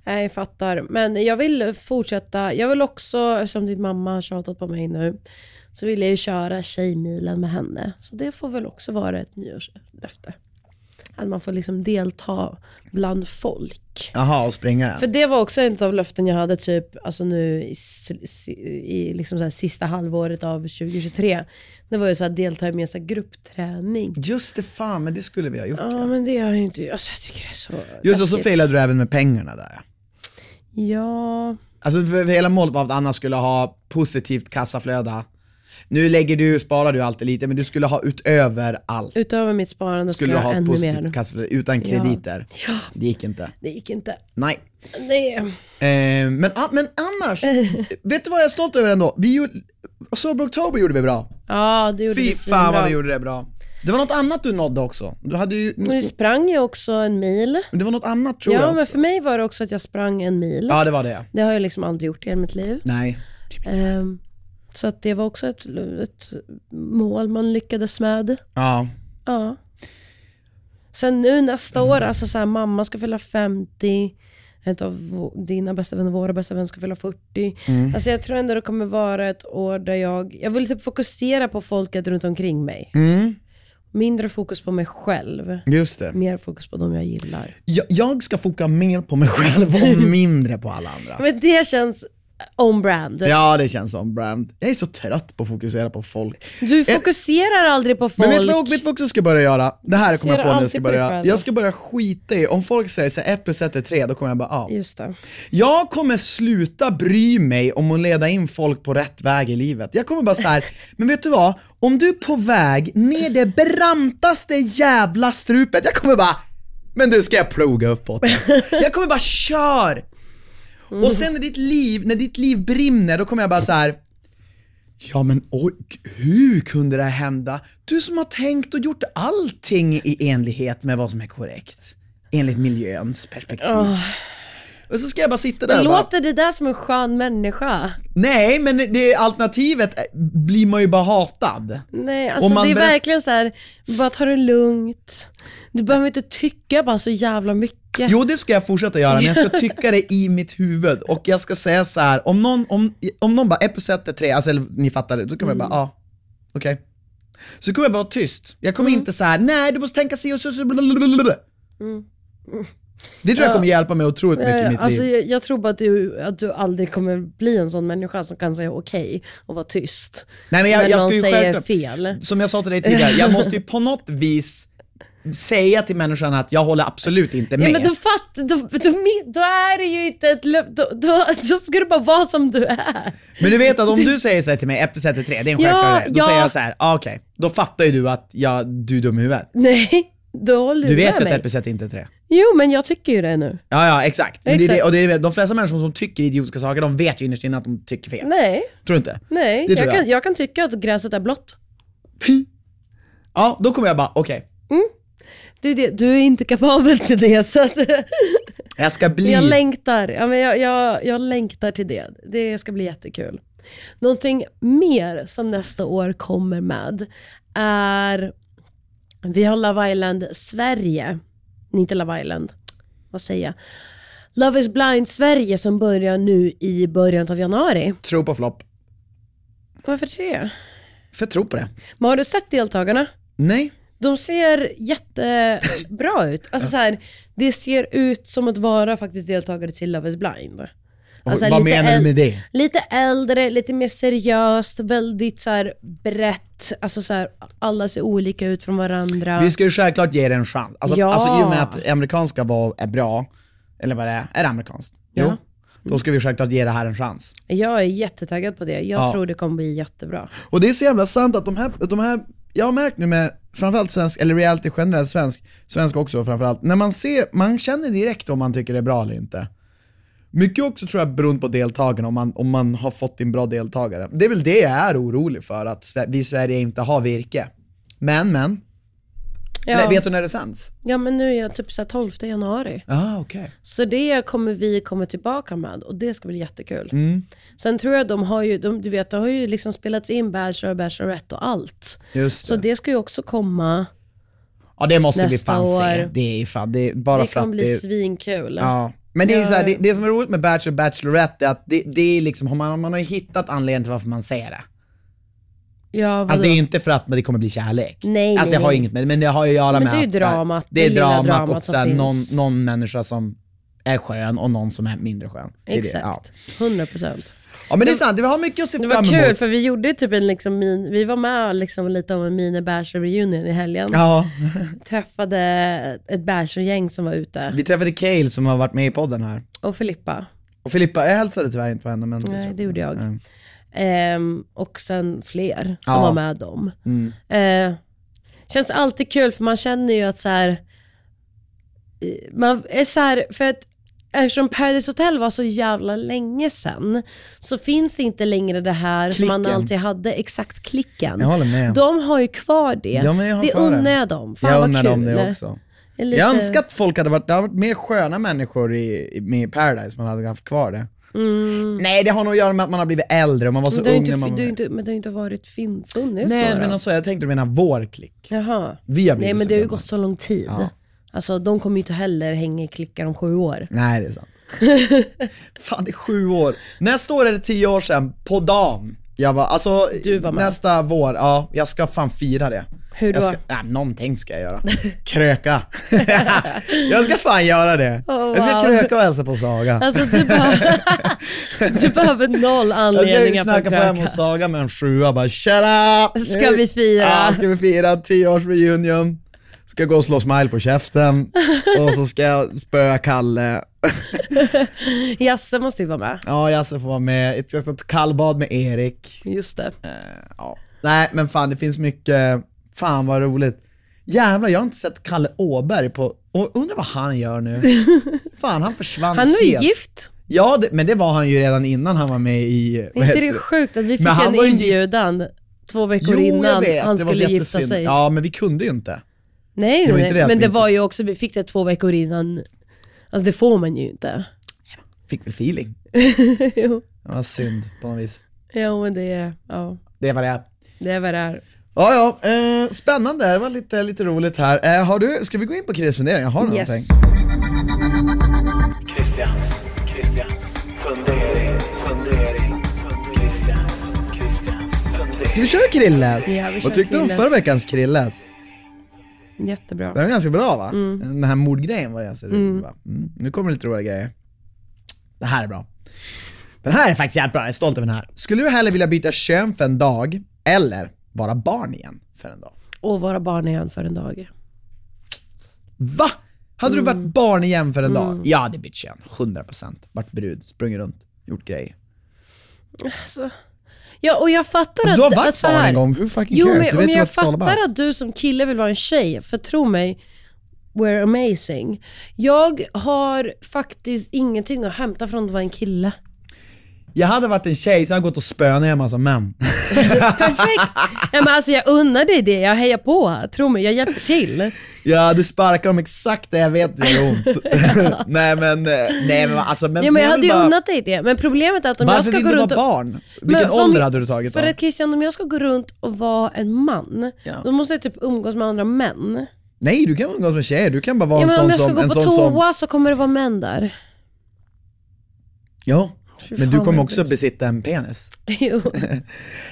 Speaker 2: Nej, jag fattar. Men jag vill fortsätta. Jag vill också, eftersom din mamma har tjatat på mig nu, så vill jag ju köra Tjejmilen med henne. Så det får väl också vara ett nyårslöfte. Att man får liksom delta bland folk.
Speaker 1: Jaha, och springa.
Speaker 2: För det var också ett av löften jag hade typ, alltså nu i, s- s- i liksom så här sista halvåret av 2023. Det var ju så att delta i mer så här gruppträning.
Speaker 1: Just det, fan, men det skulle vi ha gjort.
Speaker 2: Ja men det har jag ju inte, alltså jag tycker det är så
Speaker 1: Just det, så
Speaker 2: läskigt.
Speaker 1: failade du även med pengarna där.
Speaker 2: Ja,
Speaker 1: Alltså för, för hela målet var att Anna skulle ha positivt kassaflöde. Nu lägger du, sparar du alltid lite, men du skulle ha utöver allt.
Speaker 2: utöver mitt sparande skulle
Speaker 1: skulle du
Speaker 2: jag
Speaker 1: ha
Speaker 2: ha
Speaker 1: ett
Speaker 2: ännu
Speaker 1: positivt
Speaker 2: mer.
Speaker 1: kassaflöde utan krediter. Det gick inte.
Speaker 2: Det gick inte.
Speaker 1: Nej.
Speaker 2: Det,
Speaker 1: Eh, men, a- men annars,
Speaker 2: Eh.
Speaker 1: [laughs] vet du vad jag är stolt över ändå? Vi gjorde, Sober October gjorde vi bra.
Speaker 2: ja, det gjorde
Speaker 1: Fy
Speaker 2: vi
Speaker 1: fan vad
Speaker 2: svinbra.
Speaker 1: vi gjorde det bra. Det var något annat du nådde också. Du hade ju,
Speaker 2: Och Vi sprang ju också en mil.
Speaker 1: det var något annat tror jag
Speaker 2: Ja,
Speaker 1: också.
Speaker 2: men för mig var det också att jag sprang en mil.
Speaker 1: Ja det var det.
Speaker 2: Det har jag liksom aldrig gjort i hela mitt liv.
Speaker 1: Nej.
Speaker 2: Ehm, så att det var också ett, ett mål man lyckades med.
Speaker 1: Ja.
Speaker 2: Ja. Sen nu nästa
Speaker 1: Mm.
Speaker 2: år, alltså så här, mamma ska fylla 50, ett av vå- dina bästa vänner, våra bästa vänner ska fylla 40.
Speaker 1: Mm.
Speaker 2: Alltså jag tror ändå det kommer vara ett år där jag, jag vill typ fokusera på folket runt omkring mig.
Speaker 1: Mm.
Speaker 2: Mindre fokus på mig själv,
Speaker 1: Just det.
Speaker 2: mer fokus på de jag gillar.
Speaker 1: Jag, jag ska fokusera mer på mig själv och mindre på alla andra.
Speaker 2: Men det känns on brand.
Speaker 1: Ja det känns som brand. Jag är så trött på att fokusera på folk.
Speaker 2: Du fokuserar aldrig på folk.
Speaker 1: Men vet du vad, vet du vad jag också ska börja göra? Det här kommer jag på nu, jag ska
Speaker 2: alltid på dig
Speaker 1: börja göra.
Speaker 2: själv.
Speaker 1: Jag ska börja skita i, om folk säger så här, 1 plus 1 är 3, då kommer jag bara ja.
Speaker 2: Just det.
Speaker 1: Jag kommer sluta bry mig om att leda in folk på rätt väg i livet. Jag kommer bara
Speaker 2: [laughs]
Speaker 1: så här, men vet du vad? Om du är på väg ner det brantaste jävla strupet, jag kommer bara, men du ska jag
Speaker 2: [laughs]
Speaker 1: ploga uppåt. Jag kommer bara kör! Och sen när ditt liv, när ditt liv brinner, då kommer jag bara så här. Ja men oj, hur kunde det här hända? Du som har tänkt och gjort allting i enlighet med vad som är korrekt. Enligt miljöns perspektiv. Och så ska jag bara sitta där och bara,
Speaker 2: Låter det där som en skön människa?
Speaker 1: Nej men det alternativet eh, blir man ju bara hatad.
Speaker 2: Nej, alltså
Speaker 1: Om man
Speaker 2: det är
Speaker 1: berätt-
Speaker 2: verkligen så här, bara ta det lugnt. Du behöver inte tycka bara så jävla mycket.
Speaker 1: Jo det ska jag fortsätta göra, men jag ska tycka det i mitt huvud. Och jag ska säga så här: om någon, om, om någon bara 1 plus 1 är 3, alltså eller, ni fattar det, då kommer
Speaker 2: Mm.
Speaker 1: jag bara ja, ah, okej. Så kommer jag bara vara tyst. Jag kommer
Speaker 2: Mm.
Speaker 1: inte så här: nej du måste tänka si och så, så blablabla. Det tror jag kommer hjälpa mig otroligt mycket i
Speaker 2: Eh,
Speaker 1: mitt
Speaker 2: alltså,
Speaker 1: liv.
Speaker 2: jag, jag tror bara att du, att du aldrig kommer bli en sån människa som kan säga okej och vara tyst.
Speaker 1: Nej men jag,
Speaker 2: när
Speaker 1: jag ska
Speaker 2: någon
Speaker 1: ju
Speaker 2: säger
Speaker 1: självklart,
Speaker 2: fel.
Speaker 1: som jag sa till dig tidigare, jag måste ju på något vis säga till människan att jag håller absolut inte med.
Speaker 2: Ja, men då, fatt, då, då, då är det ju inte ett löfte, då, då, då ska du bara vara som du är. [laughs]
Speaker 1: Men du vet att om du säger så här till mig, 1 plus 1 är 3, det är en
Speaker 2: Ja,
Speaker 1: självklarhet. Då
Speaker 2: ja.
Speaker 1: säger jag så här, ah, okej, då fattar ju du att jag, du är dum i huvudet.
Speaker 2: Nej, då håller
Speaker 1: Du vet ju att
Speaker 2: med
Speaker 1: 1
Speaker 2: mig.
Speaker 1: plus 1 inte är 3.
Speaker 2: Jo, men jag tycker ju det nu.
Speaker 1: Ja, ja, exakt. Men Det är
Speaker 2: Exakt.
Speaker 1: det, och det är, det- de flesta människor som tycker idiotiska saker, de vet ju innerst inne att de tycker fel.
Speaker 2: Nej,
Speaker 1: Tror du inte?
Speaker 2: nej.
Speaker 1: Det
Speaker 2: Jag,
Speaker 1: tror jag.
Speaker 2: Kan, jag kan tycka att gräset är blått.
Speaker 1: Ja, då kommer jag bara, okej,
Speaker 2: Du, är det, du är inte kapabel till det, så att,
Speaker 1: jag ska bli...
Speaker 2: jag längtar. Ja, men jag, jag, jag längtar till det. Det ska bli jättekul. Någonting mer som nästa år kommer med är, vi har Love Island Sverige, Nej, inte Love Island, vad säger jag? Love is blind Sverige som börjar nu i början av januari.
Speaker 1: tro på flopp.
Speaker 2: Varför det?
Speaker 1: För jag tror på det.
Speaker 2: Men har du sett deltagarna?
Speaker 1: Nej.
Speaker 2: De ser jättebra ut. Alltså så här, det ser ut som att vara faktiskt deltagare till Love is blind. Alltså,
Speaker 1: Vad
Speaker 2: lite
Speaker 1: menar du
Speaker 2: äl-
Speaker 1: med det?
Speaker 2: Lite äldre, lite mer seriöst, väldigt så här brett. Alltså så här, alla ser olika ut från varandra.
Speaker 1: Vi ska ju självklart ge det en chans. Alltså,
Speaker 2: Ja.
Speaker 1: alltså i och med att amerikanska var, är bra, eller vad det är, är det amerikanskt? Jo. Då ska vi självklart ge det här en chans.
Speaker 2: Jag är jättetaggad på det. Jag
Speaker 1: Ja.
Speaker 2: tror det kommer bli jättebra.
Speaker 1: Och det är så jävla sant att de här, de här jag har märkt nu med framförallt svensk, eller reality generellt svensk, svensk också framförallt, när man ser, man känner direkt om man tycker det är bra eller inte. Mycket också tror jag beror på deltagarna, om man, om man har fått en bra deltagare. Det är väl det jag är orolig för, att Sve- vi i Sverige inte har virke. Men, men.
Speaker 2: Ja,
Speaker 1: Nej, vet du när det sänds?
Speaker 2: ja men nu är jag typ så här 12 januari.
Speaker 1: Ah, okej.
Speaker 2: Så det kommer vi komma tillbaka med och det ska bli jättekul.
Speaker 1: Mm.
Speaker 2: Sen tror jag de har ju, de, du vet, det har ju liksom spelats in Bachelor, Bachelorette och allt.
Speaker 1: Just
Speaker 2: Så det ska ju också komma
Speaker 1: Ja det måste vi
Speaker 2: Nästa
Speaker 1: fan se.
Speaker 2: år.
Speaker 1: Det är fan, det är bara
Speaker 2: Det
Speaker 1: för
Speaker 2: kommer
Speaker 1: att
Speaker 2: bli
Speaker 1: det...
Speaker 2: svinkul.
Speaker 1: Ja. Men det, är så här,
Speaker 2: Ja.
Speaker 1: det, det som är roligt med Bachelor och Bachelorette är att det, det är liksom, har man, man har ju hittat anledningen till varför man ser det.
Speaker 2: Ja, vadå?
Speaker 1: Alltså det är ju inte för att men det kommer bli kärlek.
Speaker 2: Nej,
Speaker 1: alltså det
Speaker 2: nej,
Speaker 1: har
Speaker 2: nej.
Speaker 1: ju inget med men det har ju att göra
Speaker 2: Men
Speaker 1: med
Speaker 2: det är ju
Speaker 1: att, så här,
Speaker 2: dramat,
Speaker 1: det är
Speaker 2: det lilla
Speaker 1: dramat,
Speaker 2: dramat
Speaker 1: och
Speaker 2: som
Speaker 1: så här, någon,
Speaker 2: finns.
Speaker 1: någon människa som är skön och någon som är mindre skön. Det är Det, ja.
Speaker 2: Exakt. 100 procent.
Speaker 1: ja men det är sant, vi har mycket att se
Speaker 2: Det
Speaker 1: fram
Speaker 2: var
Speaker 1: emot.
Speaker 2: kul för vi gjorde typ en liksom min, vi var med liksom lite om en mini bachelor reunion i helgen.
Speaker 1: Ja,
Speaker 2: Träffade ett bachelorgäng som var ute
Speaker 1: vi träffade Cale som har varit med i podden här.
Speaker 2: och Filippa.
Speaker 1: Och Filippa, jag hälsade tyvärr inte på henne men...
Speaker 2: Nej, det gjorde jag.
Speaker 1: Mm.
Speaker 2: Ehm, och sen fler som
Speaker 1: Ja. Mm.
Speaker 2: var med dem. Eh, känns alltid kul för man känner ju att så här, eh, man är så här, för att eftersom Paradise Hotel var så jävla länge sen så finns det inte längre det här som man
Speaker 1: Klicken.
Speaker 2: alltid hade, exakt klicken.
Speaker 1: Jag håller med.
Speaker 2: De har ju kvar det.
Speaker 1: Ja, men jag har
Speaker 2: det
Speaker 1: kvar det.
Speaker 2: unnar jag dem. Fan
Speaker 1: jag
Speaker 2: vad
Speaker 1: undrar
Speaker 2: kul.
Speaker 1: om det också.
Speaker 2: Det är lite-
Speaker 1: Jag önskar att folk hade varit, det hade varit mer sköna människor i, i med Paradise, man hade haft kvar det. Nej, det har nog att göra med att man har blivit äldre och man var så
Speaker 2: Mm. Men det har ju
Speaker 1: ung
Speaker 2: inte,
Speaker 1: när man
Speaker 2: men
Speaker 1: var
Speaker 2: det har ju inte,
Speaker 1: med.
Speaker 2: men det har ju inte varit fin, funnits
Speaker 1: Nej,
Speaker 2: några.
Speaker 1: men alltså, jag tänkte du menar vår klick.
Speaker 2: Jaha.
Speaker 1: Vi har blivit
Speaker 2: Nej men
Speaker 1: så
Speaker 2: det har ju
Speaker 1: gamla.
Speaker 2: gått så lång tid.
Speaker 1: Ja.
Speaker 2: Alltså de kommer ju inte heller hänga i klickar om sju år.
Speaker 1: Nej,
Speaker 2: [laughs]
Speaker 1: det är sant. Fan, det är sju år. Nästa år är det tio år sedan, på dagen. Jag var, alltså,
Speaker 2: Du var med.
Speaker 1: nästa vår, ja, jag ska fan fira det.
Speaker 2: Hur då?
Speaker 1: Jag ska, nej, någonting ska jag
Speaker 2: [laughs]
Speaker 1: göra. Kröka. [laughs] jag ska fan göra det. Jag ska
Speaker 2: wow.
Speaker 1: kröka och hälsa på Saga.
Speaker 2: Alltså du,
Speaker 1: [laughs]
Speaker 2: behöver, du behöver noll
Speaker 1: Jag ska ju
Speaker 2: anledningar för att
Speaker 1: knacka på hem
Speaker 2: kröka.
Speaker 1: hos Saga med en sjua bara “Tjena!” Nu-
Speaker 2: Ska vi fira?
Speaker 1: Ja, ska vi fira 10-årsreunion. Ska gå och slå smile på
Speaker 2: [laughs]
Speaker 1: käften och så ska jag spöa Kalle.
Speaker 2: Jasse måste ju vara med.
Speaker 1: Ja, Jasse får vara med. Jag ska ta ett kallbad med Erik.
Speaker 2: Just det.
Speaker 1: Eh, Ja. Nej, men fan det finns mycket. Fan vad roligt. Jävlar, jag har inte sett Kalle Åberg på... och Undrar vad han
Speaker 2: [laughs]
Speaker 1: gör nu. Fan, han försvann
Speaker 2: Han är ju
Speaker 1: helt.
Speaker 2: gift.
Speaker 1: Ja, det, men det var han ju redan innan han var med i...
Speaker 2: Är
Speaker 1: vad
Speaker 2: inte
Speaker 1: heter
Speaker 2: det sjukt att vi fick
Speaker 1: Men han var
Speaker 2: en
Speaker 1: ju gift.
Speaker 2: inbjudan två veckor
Speaker 1: Jo, jag
Speaker 2: innan
Speaker 1: vet.
Speaker 2: han
Speaker 1: Det var
Speaker 2: skulle gifta
Speaker 1: jättesynd.
Speaker 2: sig?
Speaker 1: Ja, men vi kunde ju inte.
Speaker 2: Nej,
Speaker 1: Det var
Speaker 2: nej,
Speaker 1: inte det att
Speaker 2: men
Speaker 1: vi
Speaker 2: det
Speaker 1: inte-
Speaker 2: var ju också, vi fick det två veckor innan. Alltså det får man ju inte.
Speaker 1: Fick väl feeling.
Speaker 2: [laughs] jo.
Speaker 1: Det var synd på något vis.
Speaker 2: Ja, men det är, ja,
Speaker 1: Det var det.
Speaker 2: det är vad det är.
Speaker 1: Ja, ja. Eh, spännande. Det var lite, lite roligt här. Eh, har du, ska vi gå in på Chris funderingar? Har du
Speaker 2: Yes.
Speaker 1: någonting?
Speaker 3: Christians, Christians, fundering, fundering, Christians, Christians, fundering.
Speaker 1: Ska vi köra Krilles?
Speaker 2: Ja, vi kör
Speaker 1: Vad tyckte du om
Speaker 2: Krilles.
Speaker 1: förra veckans Krilles?
Speaker 2: Jättebra.
Speaker 1: Den var ganska bra va?
Speaker 2: Mm.
Speaker 1: Den här mordgrejen var ganska rolig va? Mm. Nu kommer lite roliga grejer. Det här är bra. Den här är faktiskt jävligt bra, jag är stolt över den här. Skulle du hellre vilja byta kön för en dag, eller vara barn igen för en dag?
Speaker 2: Och vara barn igen för en dag.
Speaker 1: Va? Hade du
Speaker 2: Mm.
Speaker 1: varit barn igen för en dag? Jag hade bytt kön, 100%. Varit brud, sprungit runt, gjort grejer.
Speaker 2: Alltså. Ja, och jag fattar
Speaker 1: Alltså,
Speaker 2: att...
Speaker 1: du har
Speaker 2: att
Speaker 1: varit
Speaker 2: så
Speaker 1: barn
Speaker 2: här-
Speaker 1: en gång, who fucking
Speaker 2: Jo,
Speaker 1: cares?
Speaker 2: men,
Speaker 1: du
Speaker 2: men
Speaker 1: vet ju
Speaker 2: jag
Speaker 1: vad it's all about.
Speaker 2: fattar att du som kille vill vara en tjej, för tro mig, we're amazing. Jag har faktiskt ingenting att hämta från att vara en kille.
Speaker 1: Jag hade varit en tjej så jag hade gått och spönat en massa män. [laughs]
Speaker 2: Perfekt! ja, men alltså, jag unnar dig det, jag hejar på. Tro mig, jag hjälper till.
Speaker 1: Jag hade sparkat dem exakt där jag vet det
Speaker 2: [laughs]
Speaker 1: gör ont. [laughs] nej men, eh, nej men alltså. Men,
Speaker 2: Ja, men jag
Speaker 1: vill
Speaker 2: hade ju
Speaker 1: bara-
Speaker 2: unnat dig det, men problemet är att om
Speaker 1: Varför
Speaker 2: jag ska
Speaker 1: vill
Speaker 2: gå
Speaker 1: du
Speaker 2: runt
Speaker 1: vara
Speaker 2: och...
Speaker 1: barn? Vilken
Speaker 2: för om
Speaker 1: ålder
Speaker 2: jag-
Speaker 1: hade du tagit
Speaker 2: För
Speaker 1: då?
Speaker 2: att Christian, om jag ska gå runt och vara en man,
Speaker 1: Ja.
Speaker 2: då måste jag typ umgås med andra män.
Speaker 1: Nej du kan umgås med tjejer, du kan bara vara
Speaker 2: Ja,
Speaker 1: en
Speaker 2: men om
Speaker 1: sån
Speaker 2: jag ska
Speaker 1: som...
Speaker 2: gå
Speaker 1: en
Speaker 2: på
Speaker 1: sån som,
Speaker 2: toa så kommer det vara män där. [laughs]
Speaker 1: ja,
Speaker 2: Fy
Speaker 1: men
Speaker 2: fan,
Speaker 1: du kommer
Speaker 2: vad
Speaker 1: också
Speaker 2: jobbigt.
Speaker 1: besitta en penis.
Speaker 2: Jo.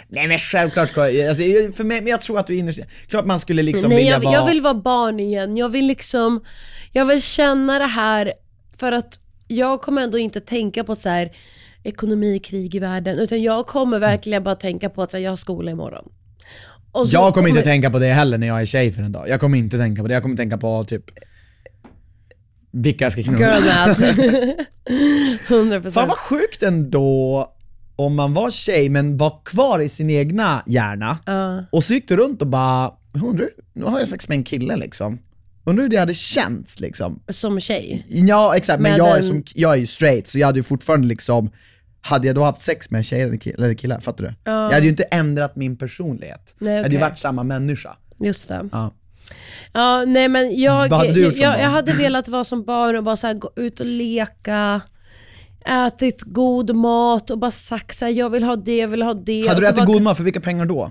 Speaker 1: Nej men självklart, ska jag- alltså, jag- för mig, men jag tror att du innerst Klart man skulle liksom
Speaker 2: Nej,
Speaker 1: vilja
Speaker 2: jag,
Speaker 1: vara...
Speaker 2: jag vill vara barn igen. Jag vill liksom, jag vill känna det här för att jag kommer ändå inte tänka på ett så här ekonomikrig i världen, utan jag kommer verkligen bara tänka på att så här, jag har skola imorgon. Och så
Speaker 1: jag kommer inte tänka på det heller när jag är tjej för en dag. Jag kommer inte tänka på det, jag kommer tänka på typ... Vilka jag ska knulla?
Speaker 2: Girl math.
Speaker 1: [laughs]
Speaker 2: 100
Speaker 1: Fan
Speaker 2: procent.
Speaker 1: vad sjukt ändå om man var tjej men var kvar i sin egna hjärna. Och så gick du runt och bara, undrar, nu har jag sex med en kille liksom. Undrar hur det hade känts liksom.
Speaker 2: Som tjej.
Speaker 1: Ja exakt, men
Speaker 2: Med
Speaker 1: jag är,
Speaker 2: en-
Speaker 1: som, jag är ju straight så jag hade ju fortfarande liksom, hade jag då haft sex med en tjej eller ki- eller killar, fattar du? Jag hade ju inte ändrat min personlighet.
Speaker 2: Nej,
Speaker 1: Jag hade ju
Speaker 2: okej.
Speaker 1: varit samma människa.
Speaker 2: Just det.
Speaker 1: Ja.
Speaker 2: Ja, nej men jag,
Speaker 1: Vad hade du gjort
Speaker 2: jag,
Speaker 1: som
Speaker 2: jag,
Speaker 1: barn?
Speaker 2: jag hade velat vara som barn och bara så här, gå ut och leka, ätit god mat och bara sagt så här, jag vill ha det, jag vill ha det.
Speaker 1: Hade
Speaker 2: och
Speaker 1: du
Speaker 2: så
Speaker 1: ätit
Speaker 2: bara,
Speaker 1: god mat för vilka pengar då?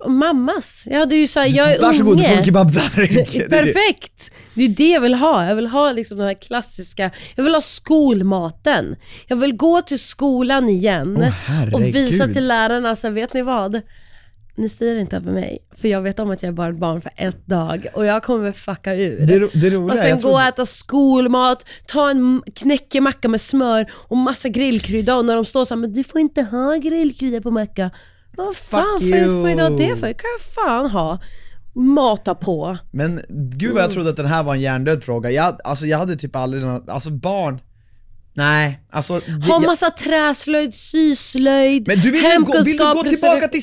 Speaker 2: Eh, Mammas. Jag hade ju såhär, jag är
Speaker 1: Varsågod, du
Speaker 2: unge.
Speaker 1: får en kebabtallrik. Det- det-
Speaker 2: Perfekt! Det är det jag vill ha. Jag vill ha liksom den här klassiska, jag vill ha skolmaten. Jag vill gå till skolan igen
Speaker 1: Åh,
Speaker 2: och
Speaker 1: herregud.
Speaker 2: visa till lärarna, så här, vet ni vad? Ni styr inte över mig, för jag vet om att jag är bara ett barn för ett dag och jag kommer fucka ur.
Speaker 1: Det, ro- det roliga
Speaker 2: och
Speaker 1: är,
Speaker 2: sen
Speaker 1: jag
Speaker 2: gå och
Speaker 1: tror,
Speaker 2: äta skolmat, ta en knäckemacka med smör och massa grillkrydda och när de står såhär, men du får inte ha grillkrydda på macka. Men Vad fan
Speaker 1: Fuck
Speaker 2: får jag får jag ha det
Speaker 1: you.
Speaker 2: för? Det kan jag fan ha. Mata på.
Speaker 1: men gud
Speaker 2: Mm.
Speaker 1: vad jag trodde att den här var en hjärndöd fråga. Jag, alltså jag hade typ aldrig någon, alltså barn, nej. Alltså, det-
Speaker 2: Ha
Speaker 1: jag,
Speaker 2: massa träslöjd, syslöjd,
Speaker 1: men du vill, ju gå, vill du gå tillbaka till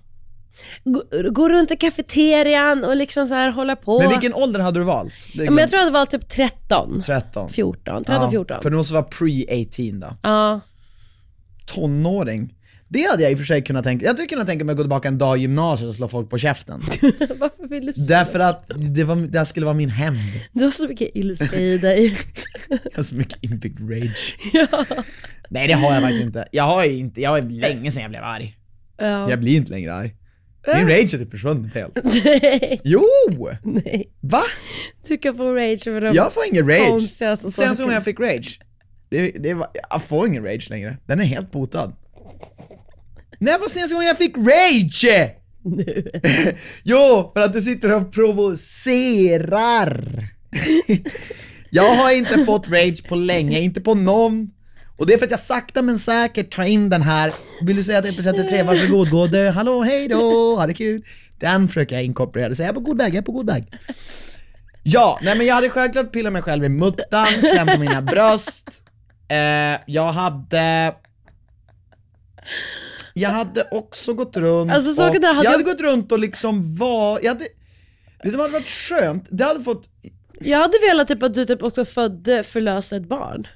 Speaker 2: Gå, gå runt i kafeterian och liksom så här hålla på.
Speaker 1: Men vilken ålder hade du valt? Det
Speaker 2: Ja, men jag tror att det var typ 13,
Speaker 1: 13.
Speaker 2: 14, 13,
Speaker 1: Ja,
Speaker 2: 14.
Speaker 1: För det måste vara pre-18 då.
Speaker 2: Ja. [laughs]
Speaker 1: Tonåring. Det hade jag i och för sig kunnat tänka Jag hade kunnat tänka mig att gå tillbaka en dag i gymnasiet och slå folk
Speaker 2: [laughs]
Speaker 1: på käften.
Speaker 2: Varför vill du så?
Speaker 1: Därför att det, var, det här skulle vara min hämnd.
Speaker 2: Du har så mycket ilska i dig. [laughs]
Speaker 1: [laughs] Jag har så mycket inbyggd rage. Nej det har jag faktiskt inte. Jag har ju inte, jag har länge sedan jag blev arg.
Speaker 2: Ja.
Speaker 1: Jag blir inte längre arg. Min rage är typ försvunnit helt.
Speaker 2: [laughs] Nej,
Speaker 1: Jo!
Speaker 2: nej.
Speaker 1: Va?
Speaker 2: Du kan få rage över dem.
Speaker 1: Jag får ingen rage.
Speaker 2: Konstigaste
Speaker 1: Senaste
Speaker 2: saker.
Speaker 1: gången jag fick rage, det, det var, jag får ingen rage längre. Den är helt botad. När var senaste gången jag fick rage? Nu. [laughs] jo, för att du sitter och provocerar. [laughs] jag har inte fått rage på länge, inte på någon. Och det är för att jag sakta men säkert tar in den här, vill du säga att 1 plus 1 är 3, varsågod, gå och dö, hallå, hej då, ha det kul. Den försöker jag inkorporera, så jag är på god väg, jag är på god väg. Ja, nej men jag hade självklart pillat mig själv i muttan, klämt på mina bröst. Eh, jag hade... Jag hade också gått runt
Speaker 2: Alltså, saken
Speaker 1: och,
Speaker 2: där hade
Speaker 1: Jag hade
Speaker 2: jag-
Speaker 1: gått runt och liksom var... Jag hade, vet du vad hade varit skönt? Det hade fått...
Speaker 2: Jag hade velat typ att du typ också födde, förlöste ett barn.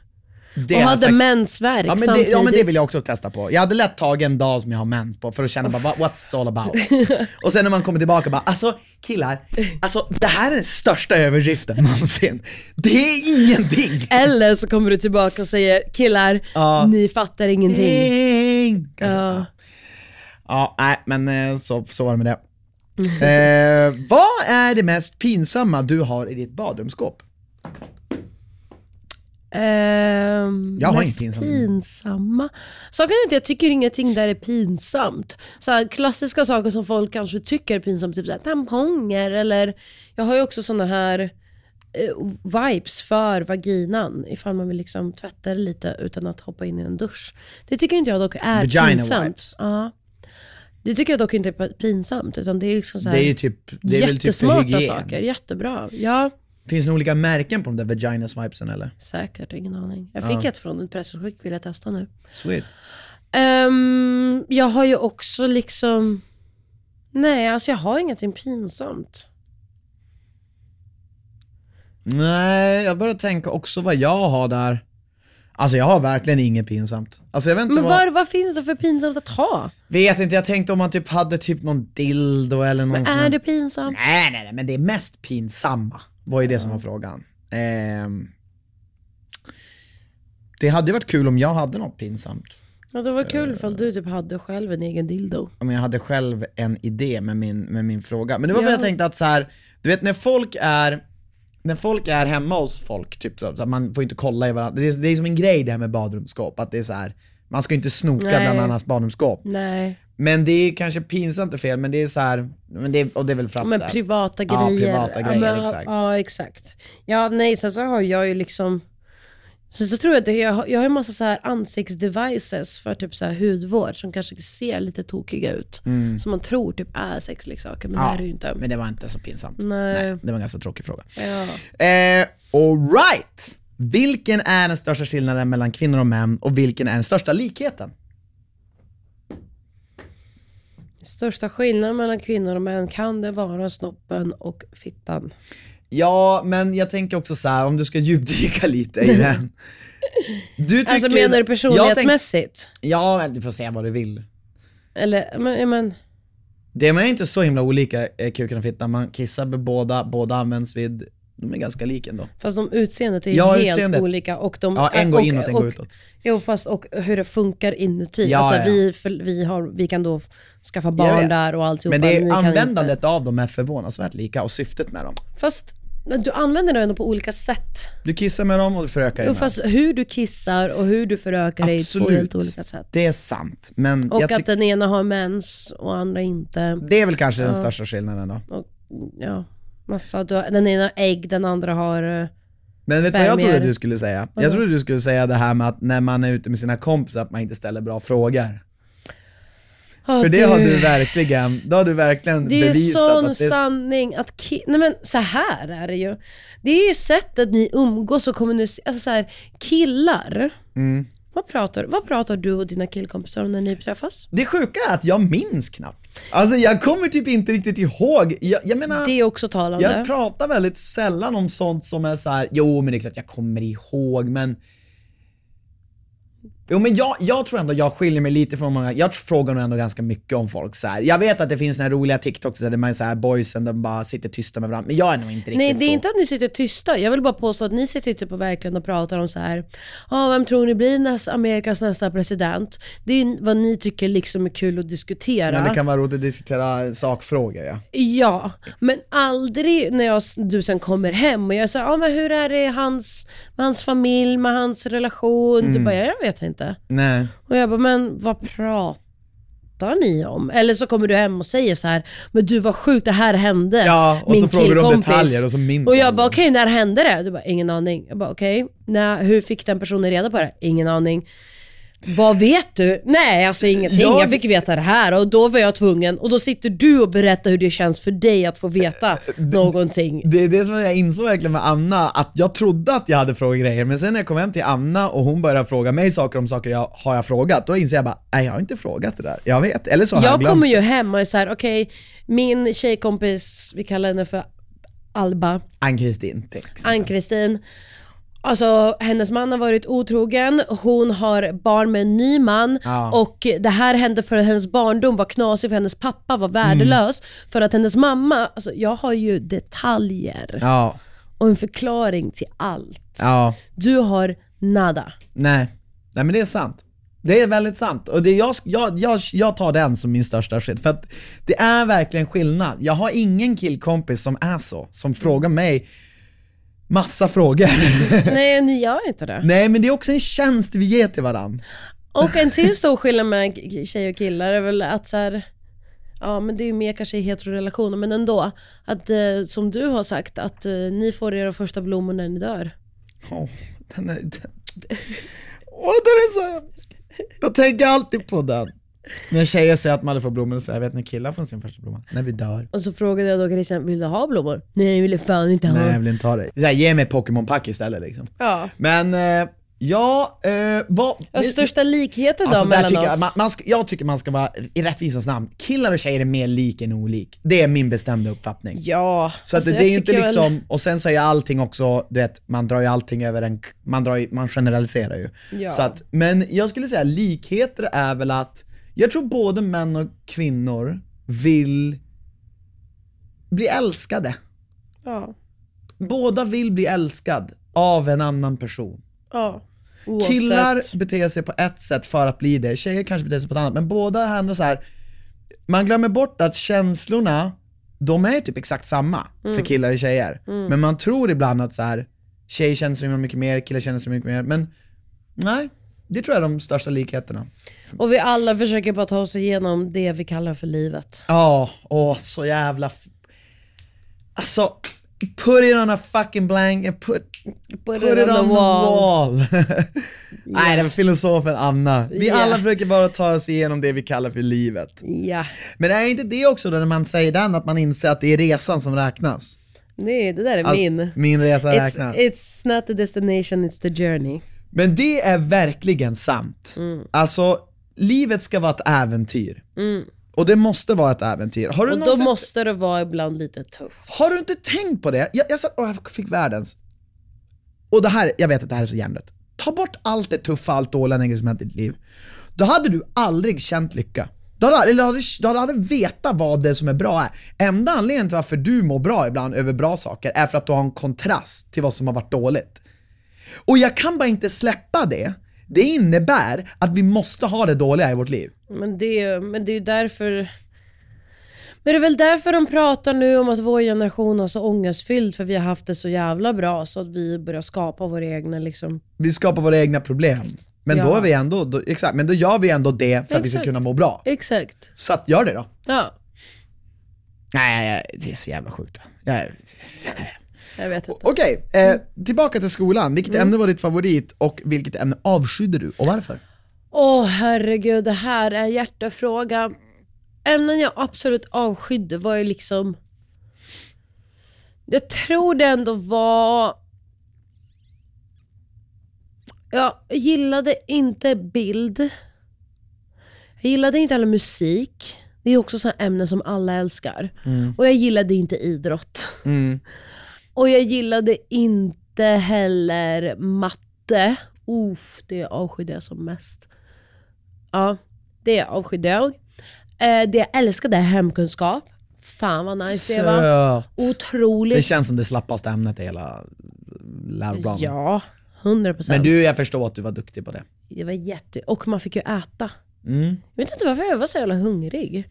Speaker 1: Det
Speaker 2: och
Speaker 1: hade
Speaker 2: hade
Speaker 1: faktiskt-
Speaker 2: mensvärk
Speaker 1: ja, men det,
Speaker 2: samtidigt.
Speaker 1: ja men det vill jag också testa på. Jag hade lätt tagit en dag som jag har mens på för att känna bara "What- what's
Speaker 2: [laughs]
Speaker 1: all about. och sen när man kommer tillbaka bara alltså killar, alltså det här är den största överdriften någonsin. Det är ingenting.
Speaker 2: Eller så kommer du tillbaka och säger killar,
Speaker 1: Ja.
Speaker 2: ni fattar ingenting.
Speaker 1: Ding. Kanske.
Speaker 2: Ja.
Speaker 1: Ja, nej men eh, så, så var det med det. eh, vad är det mest pinsamma du har i ditt badrumsskåp?
Speaker 2: Ehm,
Speaker 1: Jag har
Speaker 2: mest
Speaker 1: inget pinsamt.
Speaker 2: pinsamma. Saken är att jag tycker ingenting där är pinsamt. Så här, klassiska saker som folk kanske tycker är pinsamt, typ så här, tamponger eller jag har ju också såna här eh, vibes för vaginan ifall man vill liksom tvätta det lite utan att hoppa in i en dusch. Det tycker inte jag dock är
Speaker 1: Vagina
Speaker 2: pinsamt.
Speaker 1: wipes.
Speaker 2: Ja. Det tycker jag dock inte är pinsamt utan det är liksom så här,
Speaker 1: Det är ju typ, det är väl typ för
Speaker 2: jättesmarta
Speaker 1: hygien.
Speaker 2: saker, jättebra. Ja.
Speaker 1: Finns det olika märken på de där vagina swipesen eller?
Speaker 2: Säkert, ingen aning. Jag fick ett från ett pressutskick, vill jag testa nu.
Speaker 1: Sweet.
Speaker 2: Ehm, jag har ju också liksom... Nej, alltså jag har ingenting pinsamt.
Speaker 1: Nej, jag börjar tänka också vad jag har där. Alltså jag har verkligen inget pinsamt. Alltså jag vet inte
Speaker 2: Men
Speaker 1: vad...
Speaker 2: vad, vad finns det för pinsamt att ha?
Speaker 1: Vet inte, jag tänkte om man typ hade typ någon dildo eller någon
Speaker 2: Men
Speaker 1: sån här-
Speaker 2: är det pinsamt?
Speaker 1: Nej, nej, nej, men det är mest pinsamma. Var ju det som var frågan. Ehm, det hade ju varit kul om jag hade något pinsamt.
Speaker 2: Ja, det var kul ifall du typ hade själv en egen dildo.
Speaker 1: Om jag hade själv en idé med min, med min fråga. Men det var för
Speaker 2: Ja.
Speaker 1: jag tänkte att så här, du vet när folk är när folk är hemma hos folk, typ så, så att man får inte kolla i varandra. Det är, det är som en grej det här med badrumsskåp, att det är så här. man ska inte snoka
Speaker 2: Nej.
Speaker 1: bland annans badrumsskåp.
Speaker 2: Nej.
Speaker 1: Men det är kanske pinsamt och fel, men det är så här, men det, är- och det är väl för att
Speaker 2: Men
Speaker 1: det-
Speaker 2: privata
Speaker 1: Ja,
Speaker 2: grejer.
Speaker 1: privata
Speaker 2: Ja,
Speaker 1: grejer,
Speaker 2: men,
Speaker 1: exakt.
Speaker 2: Ja, exakt. Ja, nej, sen så har jag ju liksom... Sen så tror jag att det- jag, har- jag har ju massa så här ansiktsdevices för typ så här hudvård som kanske ser lite tokiga ut.
Speaker 1: Mm.
Speaker 2: Som man tror typ är sexleksaker, men det är det ju inte.
Speaker 1: Men det var inte så pinsamt.
Speaker 2: Nej.
Speaker 1: det var en ganska tråkig fråga.
Speaker 2: Ja.
Speaker 1: Eh, Alright! Vilken är den största skillnaden mellan kvinnor och män och vilken är den största likheten?
Speaker 2: Största skillnaden mellan kvinnor och män kan det vara snoppen och fittan.
Speaker 1: Ja, men jag tänker också så här om du ska djupdyka lite i
Speaker 2: [laughs]
Speaker 1: den. Du tycker,
Speaker 2: Alltså menar du
Speaker 1: Jag tänk-
Speaker 2: personlighetsmässigt?
Speaker 1: Ja, du får säga vad du vill.
Speaker 2: Eller, men, men,
Speaker 1: Det är inte så himla olika, eh, kuken och fittan. Man kissar med båda, båda används vid, de är ganska lika ändå.
Speaker 2: fast de utseendet är ju
Speaker 1: Ja,
Speaker 2: helt
Speaker 1: utseendet.
Speaker 2: olika. Och de,
Speaker 1: Ja, en går
Speaker 2: och,
Speaker 1: inåt, en
Speaker 2: och,
Speaker 1: går utåt.
Speaker 2: Jo, fast och hur det funkar inuti.
Speaker 1: Ja,
Speaker 2: alltså,
Speaker 1: ja.
Speaker 2: Vi, för, vi, har, vi kan då skaffa
Speaker 1: Jag
Speaker 2: barn
Speaker 1: vet.
Speaker 2: där och alltihopa.
Speaker 1: Men det
Speaker 2: Ni
Speaker 1: är,
Speaker 2: kan
Speaker 1: användandet
Speaker 2: Inte.
Speaker 1: av dem är förvånansvärt lika och syftet med dem.
Speaker 2: Fast men du använder det ändå på olika sätt.
Speaker 1: Du kissar med dem och du förökar dig
Speaker 2: Jo,
Speaker 1: med dem.
Speaker 2: fast hur du kissar och hur du förökar dig är två
Speaker 1: Absolut.
Speaker 2: helt olika sätt.
Speaker 1: Det är sant, men
Speaker 2: Och
Speaker 1: jag
Speaker 2: att
Speaker 1: tycker
Speaker 2: den ena har mens och andra inte.
Speaker 1: det är väl kanske den största skillnaden då.
Speaker 2: Och, ja, massa, du har, den ena har ägg, den andra har... eh,
Speaker 1: Men vet du vad jag
Speaker 2: Spermier.
Speaker 1: trodde du skulle säga? Jag trodde du skulle säga det här med att när man är ute med sina kompisar att man inte ställer bra frågor.
Speaker 2: ah,
Speaker 1: För det har du verkligen, det har du verkligen
Speaker 2: Det är ju
Speaker 1: bevisat
Speaker 2: sån
Speaker 1: att det är
Speaker 2: sanning att ki- Nej men så här är det ju. Det är ju sättet ni umgås och kommunicerar. Alltså så här, killar.
Speaker 1: Mm.
Speaker 2: Vad, pratar, vad pratar du och dina killkompisar om när ni träffas?
Speaker 1: Det sjuka är att jag minns knappt. Alltså jag kommer typ inte riktigt ihåg, jag, jag menar,
Speaker 2: Det är också talande.
Speaker 1: jag pratar väldigt sällan om sånt som är så här. jo men det är klart jag kommer ihåg men Jo men jag, jag tror ändå jag skiljer mig lite från många, jag frågar nog ändå ganska mycket om folk så här. Jag vet att det finns några roliga TikToks där man är så här boysen, de bara sitter tysta med varandra, men jag är nog inte riktigt
Speaker 2: Nej det är
Speaker 1: så.
Speaker 2: inte att ni sitter tysta, jag vill bara påstå att ni sitter typ och verkligen och pratar om så här. Ja, vem tror ni blir nästa, Amerikas nästa president? Det är ju vad ni tycker liksom är kul att diskutera.
Speaker 1: Men det kan vara roligt att diskutera sakfrågor ja.
Speaker 2: Ja, men aldrig när jag, du sen kommer hem och jag säger, ah, men hur är det i hans, med hans familj, med hans relation? Du bara, jag vet inte.
Speaker 1: Nej.
Speaker 2: Och jag bara, men vad pratar ni om? Eller så kommer du hem och säger så här, men du var sjukt, det här hände.
Speaker 1: Ja, och
Speaker 2: min
Speaker 1: så frågar du om
Speaker 2: killkompis."
Speaker 1: detaljer och så minns
Speaker 2: Och
Speaker 1: han
Speaker 2: jag
Speaker 1: det.
Speaker 2: bara, okej, när hände det? Du bara, ingen aning. Jag bara, okej, när- hur fick den personen reda på det? Ingen aning. Vad vet du? Nej, alltså ingenting.
Speaker 1: Jag-
Speaker 2: Jag fick veta det här och då var jag tvungen. Och då sitter du och berättar hur det känns för dig att få
Speaker 1: Eh,
Speaker 2: veta någonting.
Speaker 1: Det är det som jag insåg verkligen med Anna, att jag trodde att jag hade frågat grejer, men sen när jag kom hem till Anna och hon började fråga mig saker om saker jag har jag frågat, då inser jag bara, nej jag har inte frågat det där. Jag vet, eller så har jag,
Speaker 2: Jag
Speaker 1: glömt.
Speaker 2: kommer ju hem och är såhär, okej, min tjejkompis, vi kallar henne för Alba.
Speaker 1: Ann-Kristin till exempel.
Speaker 2: Ann-Kristin. Alltså hennes man har varit otrogen, hon har barn med en ny man
Speaker 1: Ja.
Speaker 2: och det här hände för att hennes barndom var knasig för hennes pappa var värdelös.
Speaker 1: Mm.
Speaker 2: För att hennes mamma, alltså jag har ju detaljer
Speaker 1: Ja,
Speaker 2: och en förklaring till allt.
Speaker 1: ja,
Speaker 2: Du har
Speaker 1: [laughs]
Speaker 2: nada.
Speaker 1: nej. Nej men det är sant. Det är väldigt sant. Och det är jag, jag, jag, jag tar den som min största skillnad, för att det är verkligen skillnad. Jag har ingen killkompis som är så, som frågar mig massa frågor. [laughs]
Speaker 2: Nej ni gör inte det.
Speaker 1: Nej men det är också en tjänst vi ger till varandra.
Speaker 2: Och en till stor skillnad mellan k- tjejer och killar är väl att så här, ja men det är ju mer kanske i heterorelationer men ändå. Att eh, som du har sagt, att eh, ni får era första blommor när ni dör.
Speaker 1: Åh, den är... Den... Åh, den är så hemsk. Jag tänker alltid på den. När tjejer säger att man aldrig får blommor, så säger jag, vet när killar får sin första blomma? När vi dör.
Speaker 2: Och så frågade jag då Christian, vill du ha blommor? Nej, jag ville fan inte ha.
Speaker 1: Nej jag vill inte ha dig. Så här, ge mig Pokémon-pack istället liksom.
Speaker 2: Ja.
Speaker 1: Men, eh, ja, eh, vad...
Speaker 2: Ja, största likheten
Speaker 1: Alltså,
Speaker 2: då
Speaker 1: där
Speaker 2: mellan
Speaker 1: tycker jag,
Speaker 2: oss?
Speaker 1: man, man ska, jag tycker man ska vara, i rättvisans namn, killar och tjejer är mer lik än olik. Det är min bestämda uppfattning.
Speaker 2: Ja.
Speaker 1: Så att
Speaker 2: Alltså,
Speaker 1: det,
Speaker 2: jag
Speaker 1: är ju inte
Speaker 2: tycker väl-
Speaker 1: liksom, och sen så är ju allting också, du vet, man drar ju allting över en, man, drar ju, man generaliserar ju.
Speaker 2: Ja.
Speaker 1: Så att, men jag skulle säga likheter är väl att, jag tror både män och kvinnor vill bli älskade.
Speaker 2: Ja.
Speaker 1: Båda vill bli älskad av en annan person.
Speaker 2: ja. Oavsett.
Speaker 1: Killar beter sig på ett sätt för att bli det, tjejer kanske beter sig på ett annat, men båda är ändå så här. man glömmer bort att känslorna de är typ exakt samma för killar och tjejer. Men man tror ibland att så här, tjejer känner så himla mycket mer, killar känner så mycket mer. Men nej, det tror jag är de största likheterna.
Speaker 2: Och vi alla försöker bara ta oss igenom det vi kallar för livet.
Speaker 1: Ja, åh så jävla... F- alltså, put it on a fucking blank and put, put, it, on, the wall. [laughs] Nej, det var filosofen Anna. Vi
Speaker 2: Yeah.
Speaker 1: alla försöker bara ta oss igenom det vi kallar för livet.
Speaker 2: Ja,
Speaker 1: Men är inte det också då när man säger den, att man inser att det är resan som räknas?
Speaker 2: nej det där är
Speaker 1: Att
Speaker 2: min.
Speaker 1: Min resa
Speaker 2: It's,
Speaker 1: räknas.
Speaker 2: it's not the destination, it's the journey.
Speaker 1: Men det är verkligen sant.
Speaker 2: Mm.
Speaker 1: Alltså, livet ska vara ett äventyr. Och det måste vara ett äventyr. Har du
Speaker 2: Och då
Speaker 1: någonsin-
Speaker 2: måste det vara ibland lite tufft.
Speaker 1: Har du inte tänkt på det? Jag, jag satt och jag fick världens... Och det här, jag vet att det här är så jämnt. Ta bort allt det tuffa, allt dåliga, negativa som hänt i ditt liv. Då hade du aldrig känt lycka. Du hade, eller hade, du hade aldrig vetat vad det som är bra är. Enda anledningen till varför du mår bra ibland över bra saker är för att du har en kontrast till vad som har varit dåligt. Och jag kan bara inte släppa det. Det innebär att vi måste ha det dåliga i vårt liv.
Speaker 2: Men det, är ju- men det är ju därför... Men det är väl därför de pratar nu om att vår generation har så ångestfylld för vi har haft det så jävla bra så att vi börjar skapa våra egna liksom.
Speaker 1: Vi skapar våra egna problem. Men då
Speaker 2: Ja.
Speaker 1: är vi ändå, då, exakt, men då gör vi ändå det för att vi ska
Speaker 2: Exakt.
Speaker 1: kunna må bra.
Speaker 2: Exakt.
Speaker 1: Så att, gör det då.
Speaker 2: Ja,
Speaker 1: Nej, det är så jävla sjukt. Jag-
Speaker 2: jag vet inte.
Speaker 1: Okej, eh, tillbaka till skolan. Vilket ämne var ditt favorit och vilket ämne avskydde du och varför?
Speaker 2: Åh herregud, det här är hjärtefråga. Ämnen jag absolut avskydde var ju liksom... Jag tror det ändå var... Jag gillade inte bild. Jag gillade inte heller musik. Det är också sådana ämnen som alla älskar.
Speaker 1: Mm.
Speaker 2: Och jag gillade inte idrott. Och jag gillade inte heller matte. Uff, det avskydde jag som mest. Ja, det avskydde jag. Eh, det jag älskade är hemkunskap. Fan vad nice det var.
Speaker 1: Söt.
Speaker 2: Otroligt.
Speaker 1: Det känns som det slappaste ämnet i hela läroplanen.
Speaker 2: Ja, 100 procent.
Speaker 1: Men du, jag förstår att du Mm. var duktig på det.
Speaker 2: Det var jätte... Och man fick ju äta. Jag vet inte varför jag var så jävla hungrig.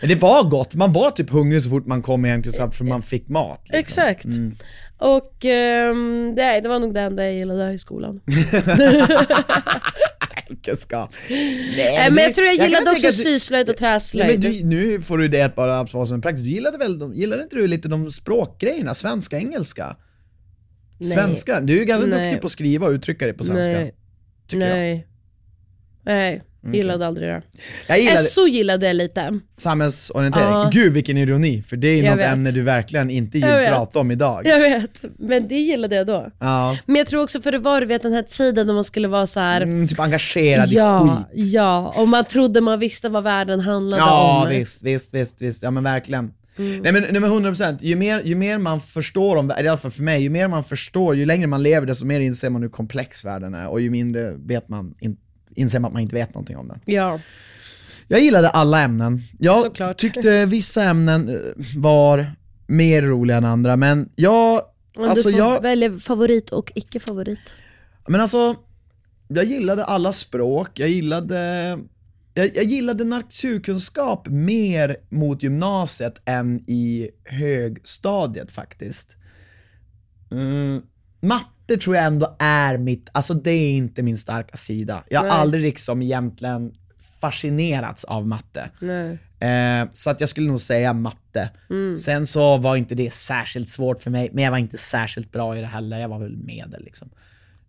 Speaker 1: Men det var gott, man var typ hungrig så fort man kom hem för man fick mat. Liksom.
Speaker 2: Exakt. Och ehm, nej, det var nog det enda jag gillade i skolan.
Speaker 1: Hemkunskap.
Speaker 2: Nej, Äh, men jag tror jag
Speaker 1: kan
Speaker 2: gillade
Speaker 1: tänka
Speaker 2: också
Speaker 1: att du-
Speaker 2: syslöjd och
Speaker 1: Nej,
Speaker 2: träslöjd.
Speaker 1: men du, nu får du det att bara att vara som en praktisk. Du gillade väl, de, gillade inte du lite de språkgrejerna? Svenska, engelska?
Speaker 2: Nej.
Speaker 1: Svenska? Du är ganska
Speaker 2: Nej.
Speaker 1: duktig på att skriva och uttrycka dig på svenska.
Speaker 2: Nej.
Speaker 1: tycker jag.
Speaker 2: Nej. Nej, gillade aldrig det.
Speaker 1: Jag gillade
Speaker 2: SO gillade jag lite.
Speaker 1: samhällsorientering.
Speaker 2: Ja.
Speaker 1: Gud vilken ironi, för det är ju
Speaker 2: Jag
Speaker 1: något
Speaker 2: vet.
Speaker 1: ämne du verkligen inte
Speaker 2: Jag
Speaker 1: vill
Speaker 2: vet.
Speaker 1: prata om idag.
Speaker 2: Jag vet, men det gillade jag då.
Speaker 1: Ja.
Speaker 2: Men jag tror också för det var du vet den här tiden när man skulle vara så här.
Speaker 1: Mm, typ engagerad i
Speaker 2: ja,
Speaker 1: skit.
Speaker 2: ja, och man trodde man visste vad världen handlade
Speaker 1: Ja
Speaker 2: om. Mm.
Speaker 1: visst, visst, visst, visst. Ja men verkligen. Nej men, nej men 100%, ju mer, ju mer man förstår om världen, i alla fall för mig, ju mer man förstår, ju längre man lever desto mer inser man hur komplex världen är och ju mindre vet man, in, inser man att man inte vet någonting om den.
Speaker 2: Ja.
Speaker 1: Jag gillade alla ämnen. Jag
Speaker 2: Såklart.
Speaker 1: tyckte vissa ämnen eh, var mer roliga än andra, men jag...
Speaker 2: Men
Speaker 1: Alltså
Speaker 2: du får
Speaker 1: jag,
Speaker 2: välja favorit och icke-favorit.
Speaker 1: men alltså, jag gillade alla språk, jag gillade... Jag, jag gillade naturkunskap mer mot gymnasiet än i högstadiet faktiskt. Mm. Matte tror jag ändå är mitt, alltså det är inte min starka sida. Jag har
Speaker 2: Nej.
Speaker 1: aldrig liksom egentligen fascinerats av matte.
Speaker 2: Nej.
Speaker 1: Eh, så att jag skulle nog säga matte.
Speaker 2: Mm.
Speaker 1: Sen så var inte det särskilt svårt för mig, men jag var inte särskilt bra i det heller. Jag var väl medel liksom.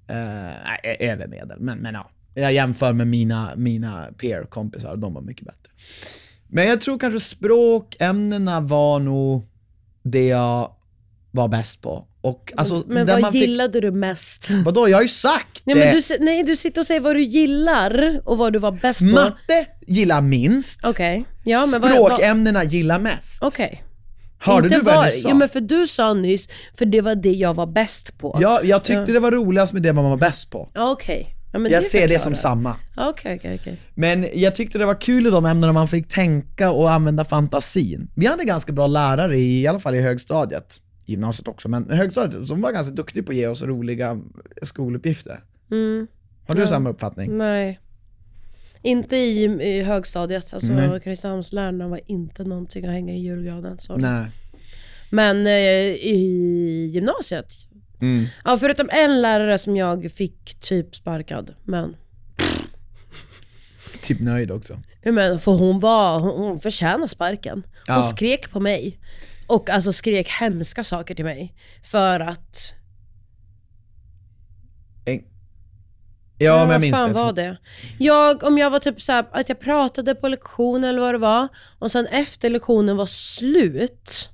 Speaker 1: Eh, nej, ö- över medel, men, men ja. Jag jämför med mina, mina peer-kompisar, de var mycket bättre. Men jag tror kanske språkämnena var nog det jag var bäst på. Och, alltså,
Speaker 2: Men
Speaker 1: där
Speaker 2: vad
Speaker 1: man fick,
Speaker 2: gillade du mest?
Speaker 1: vadå, jag har ju sagt [laughs]
Speaker 2: Nej,
Speaker 1: det!
Speaker 2: men du, s- nej, du sitter och säger vad du gillar och vad du var bäst på.
Speaker 1: Matte gillar minst,
Speaker 2: Okej. Ja, men vad- vad-
Speaker 1: språkämnena gillar mest.
Speaker 2: Okej.
Speaker 1: Hörde
Speaker 2: Inte
Speaker 1: du vad jag
Speaker 2: var-
Speaker 1: nyss sa?
Speaker 2: Jo men för du sa nyss, för det var det jag var bäst på.
Speaker 1: Ja, jag tyckte det var roligast med det man var bäst på.
Speaker 2: Ja, Okej. Ja, men
Speaker 1: jag ser det
Speaker 2: förklarar.
Speaker 1: som samma.
Speaker 2: Ja, Okej, okej, okej.
Speaker 1: Men jag tyckte det var kul i de ämnena man fick tänka och använda fantasin. Vi hade ganska bra lärare, i, i alla fall i högstadiet. Gymnasiet också, men högstadiet som var ganska duktig på att ge oss
Speaker 2: Mm.
Speaker 1: roliga skoluppgifter. Har du samma uppfattning?
Speaker 2: Nej. Inte i, i högstadiet. Alltså
Speaker 1: Nej.
Speaker 2: Kristinehamnslärarna var inte någonting att hänga i julgranen. Så.
Speaker 1: Nej.
Speaker 2: Men eh, i gymnasiet.
Speaker 1: Mm.
Speaker 2: Ja, förutom en lärare som jag fick typ sparkad. Men,
Speaker 1: Typ nöjd också.
Speaker 2: jag menar, för hon var, hon, hon förtjänade sparken. Hon
Speaker 1: Ja.
Speaker 2: skrek på mig. Och alltså skrek hemska saker till mig. För att
Speaker 1: En... Ja, men jag minns
Speaker 2: vad fan
Speaker 1: det.
Speaker 2: var det? Jag, om jag var typ så här, att jag pratade på lektion eller vad det var och sen efter lektionen var slut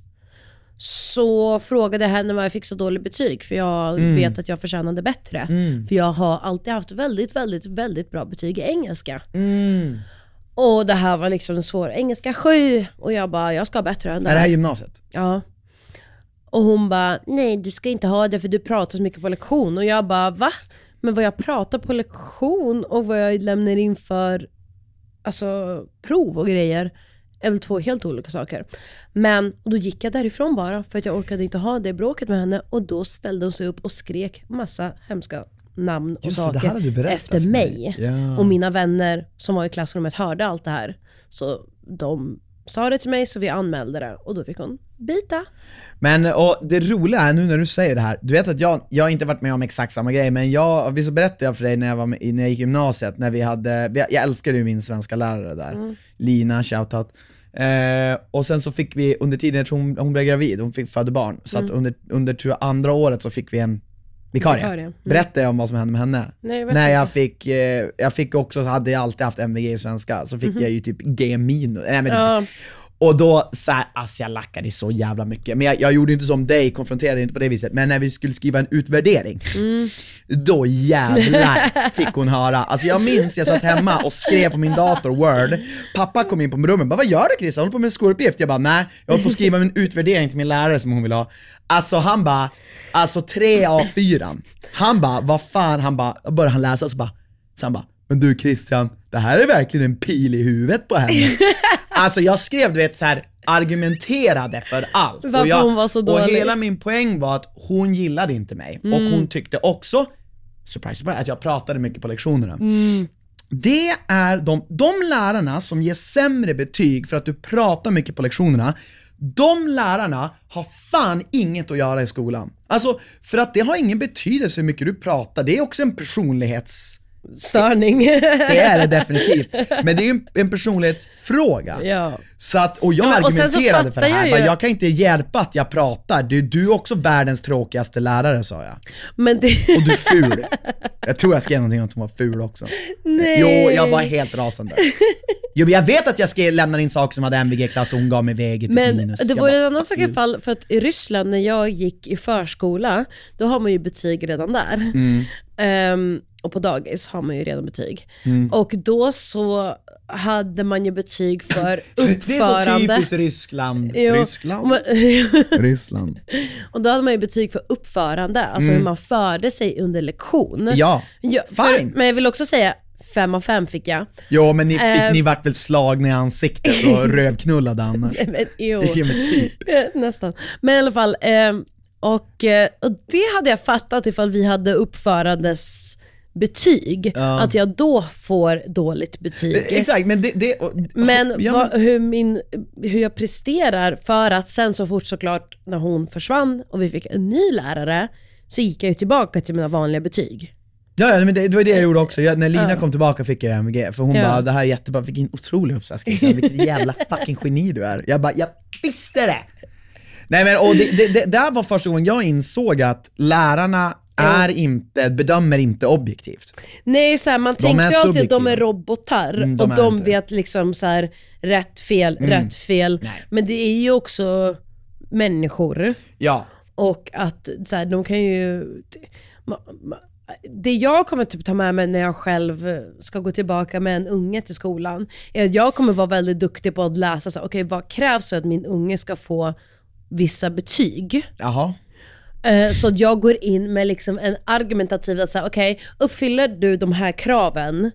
Speaker 2: så frågade jag henne vad jag fick så dåligt betyg för jag
Speaker 1: Mm.
Speaker 2: vet att jag förtjänade bättre. För jag har alltid haft väldigt, väldigt, väldigt bra betyg i engelska.
Speaker 1: Mm.
Speaker 2: Och det här var liksom en svår engelska 7 och jag bara, jag ska ha bättre än det
Speaker 1: Är det
Speaker 2: här.
Speaker 1: här gymnasiet?
Speaker 2: Ja. Och hon bara, nej du ska inte ha det för du pratar så mycket på lektion. Och jag bara, va? Men vad jag pratar på lektion och vad jag lämnar in för alltså, prov och grejer är väl två helt olika saker. Men och då gick jag därifrån bara för att jag orkade inte ha det bråket med henne. Och då ställde hon sig upp och skrek massa hemska namn och
Speaker 1: Just det, det här har du
Speaker 2: saker
Speaker 1: berättat
Speaker 2: efter
Speaker 1: för
Speaker 2: mig.
Speaker 1: mig. Ja.
Speaker 2: Och mina vänner som var i klassrummet hörde allt det här. Så de sa det till mig så vi anmälde det och då fick hon bita.
Speaker 1: Men och det roliga är nu när du säger det här, du vet att jag, jag har inte varit med om exakt samma grej, men jag, visst berättade jag för dig när jag, var med, när jag gick i gymnasiet, när vi hade, vi- jag älskade ju min svenska lärare där, Lina, shoutout. Eh, och sen så fick vi, under tiden, jag tror hon, hon blev gravid, hon fick födde barn, så att under, under tror jag, andra året så fick vi en vikarie.
Speaker 2: Vikarie, mm.
Speaker 1: Berättade jag om vad som hände med henne?
Speaker 2: Nej, jag vet
Speaker 1: när
Speaker 2: inte.
Speaker 1: jag fick, eh, jag fick också, så hade jag alltid haft MVG i svenska, så fick jag ju typ G minus, nej men typ
Speaker 2: Mhm. Ja.
Speaker 1: och då så här, alltså jag lackade så jävla mycket. Men jag, jag gjorde inte som dig, konfronterade inte på det viset. Men när vi skulle skriva en utvärdering, då jävlar fick hon höra. Alltså jag minns, jag satt hemma och skrev på min dator, word. Pappa kom in på rummet och bara, vad gör du Chris? Jag håller på med en skoluppgift. Jag bara, nej, jag håller på att skriva en utvärdering till min lärare som hon vill ha. Alltså han bara, alltså tre av fyran. Han bara, vad fan, han bara, då började han läsa och så bara, så han bara, men du Christian, det här är verkligen en pil i huvudet på henne. Alltså jag skrev du vet så här argumenterade för allt.
Speaker 2: Varför
Speaker 1: och jag,
Speaker 2: hon var så
Speaker 1: Och
Speaker 2: dålig. Mm.
Speaker 1: hela min poäng var att hon gillade inte mig. Och hon tyckte också, surprise surprise, att jag pratade mycket på lektionerna.
Speaker 2: Mm.
Speaker 1: Det är de, de lärarna som ger sämre betyg för att du pratar mycket på lektionerna, de lärarna har fan inget att göra i skolan. Alltså, för att det har ingen betydelse hur mycket du pratar, det är också en personlighets...
Speaker 2: Störning.
Speaker 1: Det är det definitivt. Men det är ju en, en personlighetsfråga.
Speaker 2: ja.
Speaker 1: Så att, och jag
Speaker 2: Ja, men- och sen så
Speaker 1: argumenterade för det
Speaker 2: fattar
Speaker 1: här,
Speaker 2: jag
Speaker 1: jag,
Speaker 2: ju-
Speaker 1: jag kan inte hjälpa att jag pratar, du, du är också världens tråkigaste lärare sa jag.
Speaker 2: Men det...
Speaker 1: Och du är ful. jag tror jag skrev någonting om att hon var ful också.
Speaker 2: [laughs] Nej.
Speaker 1: Jo, jag var helt rasande. Jo, men jag vet att jag skrev, lämnade in saker som hade MVG-klass och hon gav mig VG typ
Speaker 2: Men
Speaker 1: minus.
Speaker 2: det
Speaker 1: Jag
Speaker 2: var
Speaker 1: bara,
Speaker 2: en annan sak i
Speaker 1: "Fuck
Speaker 2: alla fall, för att i Ryssland när jag gick i förskola, då har man ju betyg redan där.
Speaker 1: Mm.
Speaker 2: Ehm, och på dagis har man ju redan betyg.
Speaker 1: Mm.
Speaker 2: Och då så hade man ju betyg för
Speaker 1: you."
Speaker 2: uppförande.
Speaker 1: [laughs] Det är så typiskt Ryssland.
Speaker 2: Jo, [laughs]
Speaker 1: Ryssland.
Speaker 2: men-
Speaker 1: Ryssland.
Speaker 2: Och då hade man ju betyg för uppförande, alltså hur man förde sig under lektion.
Speaker 1: Mm. Ja,
Speaker 2: för-
Speaker 1: fine.
Speaker 2: Men jag vill också säga, fem av fem fick jag.
Speaker 1: Jo, men ni, fick,
Speaker 2: Eh.
Speaker 1: ni vart väl slagna i ansiktet
Speaker 2: [laughs]
Speaker 1: och rövknullade annars.
Speaker 2: Men, jo.
Speaker 1: Ja, men
Speaker 2: [laughs]
Speaker 1: typ.
Speaker 2: Nästan. Men i alla fall, ehm, och, eh, och det hade jag fattat ifall vi hade uppförandes betyg. Att jag då får dåligt betyg.
Speaker 1: Eh, Exakt, men det... det och,
Speaker 2: Men,
Speaker 1: ja,
Speaker 2: vad, hur, min, hur jag presterar för att sen så fort såklart när hon försvann och vi fick en ny lärare så gick jag ju tillbaka till mina vanliga betyg.
Speaker 1: Ja, ja, men det, det var det jag gjorde också. Jag, när Lina kom tillbaka fick jag MVG, för hon
Speaker 2: Ja.
Speaker 1: bara 'det här är jättebra, vilken otrolig uppsats vilket jävla fucking geni du är' Jag bara 'jag visste det!' Nej men och det, det, det där var första gången jag insåg att lärarna är inte, bedömer inte objektivt.
Speaker 2: Nej, så här, man
Speaker 1: är
Speaker 2: tänkte ju alltid att de
Speaker 1: subjektiva.
Speaker 2: är robotar
Speaker 1: Mm, de
Speaker 2: och
Speaker 1: är
Speaker 2: de
Speaker 1: inte det.
Speaker 2: vet liksom så här, rätt, fel, rätt, fel.
Speaker 1: Nej.
Speaker 2: Men det är ju också människor.
Speaker 1: Ja.
Speaker 2: Och att så här, de kan ju... ma- ma- Det jag kommer typ ta med mig när jag själv eh, ska gå tillbaka med en unge till skolan, är att jag kommer vara väldigt duktig på att läsa, så här, okej vad krävs för att min unge ska få vissa betyg?
Speaker 1: Jaha.
Speaker 2: Eh, Så att jag går in med liksom en argumentativ, att säga okej, uppfyller du de här kraven?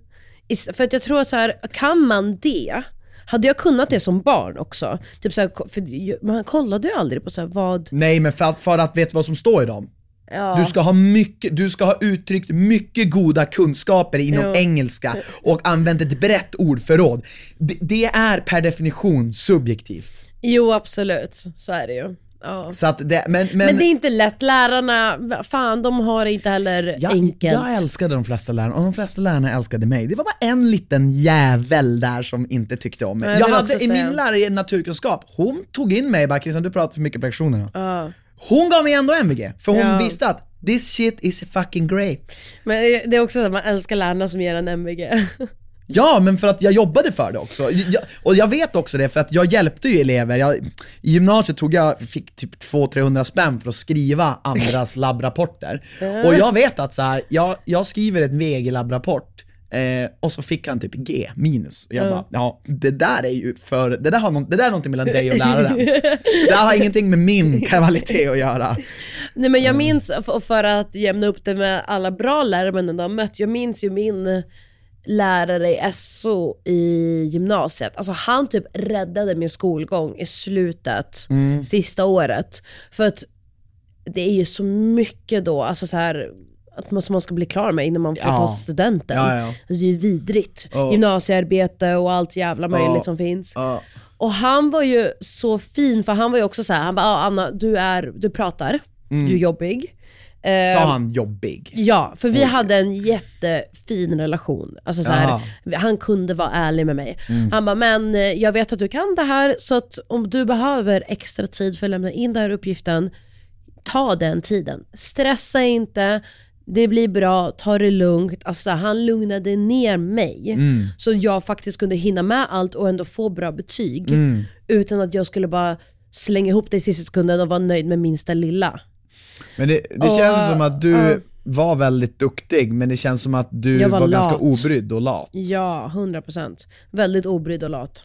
Speaker 2: Is- För att jag tror att så här, kan man det, hade jag kunnat det som barn också? Typ så här, ko- för ju- man kollade ju aldrig på så här, vad
Speaker 1: Nej men för att, för att veta vad som står i dem.
Speaker 2: Ja.
Speaker 1: Du ska ha mycket, du ska ha uttryckt mycket goda kunskaper inom
Speaker 2: Jo.
Speaker 1: engelska och använt ett brett ordförråd. Det, det är per definition subjektivt.
Speaker 2: Jo, absolut. Så är det ju. Ja.
Speaker 1: Så att det, men, men,
Speaker 2: Men, det är inte lätt. Lärarna, va- fan de har det inte heller
Speaker 1: jag,
Speaker 2: enkelt.
Speaker 1: jag älskade de flesta lärarna och de flesta lärarna älskade mig. Det var bara en liten jävel där som inte tyckte om mig.
Speaker 2: Ja, jag
Speaker 1: jag
Speaker 2: vill
Speaker 1: hade,
Speaker 2: också
Speaker 1: I
Speaker 2: säga.
Speaker 1: min lärare i naturkunskap, hon tog in mig och bara “Christian, du pratar för mycket på lektionerna”. Hon gav mig ändå MVG, för hon
Speaker 2: Ja.
Speaker 1: visste att “this shit is fucking great”.
Speaker 2: Men eh, det är också så att man älskar lärarna som ger en MVG.
Speaker 1: Ja, men för att jag jobbade för det också. Jag, och jag vet också det, för att jag hjälpte ju elever. Jag, I gymnasiet tog jag, fick typ 200-300 spänn för att skriva andras labbrapporter. Och jag vet att så här, jag, jag skriver en VG-labbrapport eh, och så fick han typ G, minus. Och jag bara, ja det där är ju för, det där, har någon, det där är någonting mellan dig och läraren. det där har ingenting med min kvalitet att göra.
Speaker 2: [laughs] Nej men jag minns, och f- och för att jämna upp det med alla bra lärare man ändå har mött, jag minns ju min lärare i SO i gymnasiet. Alltså han typ räddade min skolgång i slutet,
Speaker 1: Mm.
Speaker 2: sista året. För att det är ju så mycket då, alltså så här att man, som man ska bli klar med innan man får
Speaker 1: Ja.
Speaker 2: ta studenten.
Speaker 1: Ja, ja.
Speaker 2: Alltså det är ju vidrigt.
Speaker 1: Ja.
Speaker 2: Gymnasiearbete och allt jävla möjligt som finns.
Speaker 1: Ja.
Speaker 2: Och han var ju så fin, för han var ju också så här, han bara ah, Anna, du, är, du pratar,
Speaker 1: Mm.
Speaker 2: du är jobbig. Eh,
Speaker 1: Sa han jobbig?
Speaker 2: Ja, för vi hade en jättefin relation. Alltså så här, han kunde vara ärlig med mig. Han bara, men eh, jag vet att du kan det här, så att om du behöver extra tid för att lämna in den här uppgiften, ta den tiden. Stressa inte, det blir bra, ta det lugnt. Alltså, så här, han lugnade ner mig så jag faktiskt kunde hinna med allt och ändå få bra betyg. Utan att jag skulle bara slänga ihop det i sista sekunden och vara nöjd med minsta lilla.
Speaker 1: Men det, det
Speaker 2: Och,
Speaker 1: känns som att du
Speaker 2: ja.
Speaker 1: var väldigt duktig, men det känns som att du
Speaker 2: Jag
Speaker 1: var,
Speaker 2: var
Speaker 1: ganska
Speaker 2: lat.
Speaker 1: obrydd och lat.
Speaker 2: Ja, 100%. Väldigt obrydd och lat.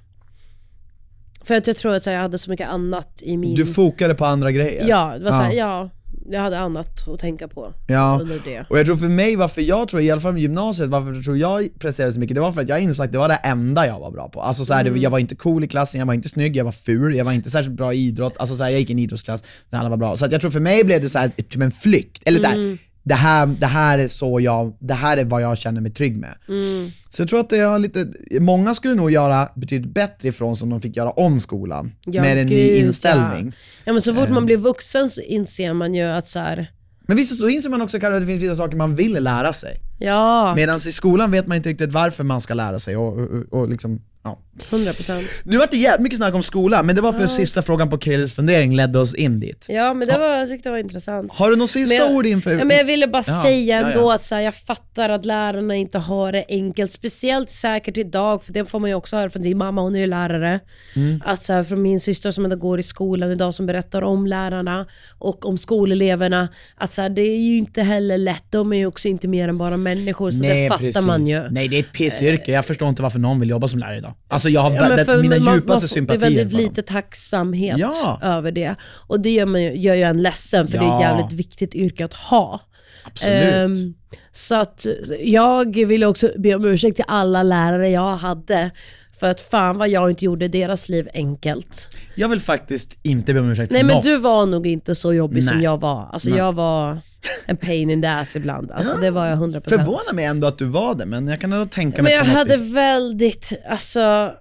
Speaker 2: För att jag tror att så här, jag hade så mycket annat i min...
Speaker 1: Du fokade på andra grejer.
Speaker 2: Mm. Ja, det var så här,
Speaker 1: Ja.
Speaker 2: ja, jag hade annat att tänka på
Speaker 1: Ja.
Speaker 2: under det.
Speaker 1: Och jag tror för mig, varför jag tror, i alla fall med gymnasiet, varför jag tror jag presterade så mycket, det var för att jag insåg att det var det enda jag var bra på. Alltså så här,
Speaker 2: Mm.
Speaker 1: det, jag var inte cool i klassen, jag var inte snygg, jag var ful, jag var inte särskilt bra i idrott, alltså så här, jag gick i en idrottsklass där alla var bra. Så att jag tror för mig blev det så här, typ en flykt, eller så här,
Speaker 2: Mm.
Speaker 1: det, här, det här är så jag, det här är vad jag känner mig trygg med.
Speaker 2: Mm.
Speaker 1: Så jag tror att det har lite, många skulle nog göra betydligt bättre ifrån som de fick göra om skolan,
Speaker 2: Ja,
Speaker 1: med en ny
Speaker 2: gud,
Speaker 1: inställning.
Speaker 2: Ja. ja, men så
Speaker 1: Eh.
Speaker 2: fort man blir vuxen så inser man ju att så här,
Speaker 1: Men visst, då inser man också kanske att det finns vissa saker man vill lära sig.
Speaker 2: ja,
Speaker 1: Medan i skolan vet man inte riktigt varför man ska lära sig och, och, och liksom, ja.
Speaker 2: 100%.
Speaker 1: Nu vart det jävligt mycket snack om skola, men det var för att sista frågan på Krilles fundering ledde oss in dit.
Speaker 2: Ja, men det var, jag tyckte det var intressant.
Speaker 1: Har du något sista
Speaker 2: Men jag-
Speaker 1: ord inför...
Speaker 2: Ja, men jag ville bara
Speaker 1: Ja,
Speaker 2: säga
Speaker 1: ja,
Speaker 2: ändå
Speaker 1: ja.
Speaker 2: att så här, jag fattar att lärarna inte har det enkelt. Speciellt säkert idag, för det får man ju också höra från din mamma, hon är ju lärare.
Speaker 1: Mm.
Speaker 2: Att så här, från min syster som ändå går i skolan idag som berättar om lärarna och om skoleleverna. Att så här, det är ju inte heller lätt, de är ju också inte mer än bara människor. Så det fattar man ju.
Speaker 1: Nej det är ett pissyrke, jag förstår inte varför någon vill jobba som lärare idag. Alltså jag har
Speaker 2: Ja, men
Speaker 1: vä-
Speaker 2: för-
Speaker 1: mina
Speaker 2: men man- man
Speaker 1: djupaste
Speaker 2: får-
Speaker 1: sympatier
Speaker 2: Det är väldigt
Speaker 1: för dem.
Speaker 2: lite tacksamhet
Speaker 1: Ja.
Speaker 2: över det. Och det gör, man ju, gör ju en ledsen, för det är ett
Speaker 1: Ja.
Speaker 2: jävligt viktigt yrke att ha.
Speaker 1: Absolut.
Speaker 2: Ehm, så att jag vill också be om ursäkt till alla lärare jag hade. För att fan vad jag inte gjorde deras liv enkelt.
Speaker 1: Jag vill faktiskt inte be om ursäkt för
Speaker 2: Nej men
Speaker 1: något.
Speaker 2: du var nog inte så jobbig som
Speaker 1: Nej.
Speaker 2: jag var. Alltså jag var en pain in the ass ibland. Alltså det var jag 100%.
Speaker 1: Förvånar mig ändå att du var det, men jag kan ändå tänka
Speaker 2: Men
Speaker 1: mig
Speaker 2: jag
Speaker 1: på något
Speaker 2: hade
Speaker 1: vis.
Speaker 2: väldigt, alltså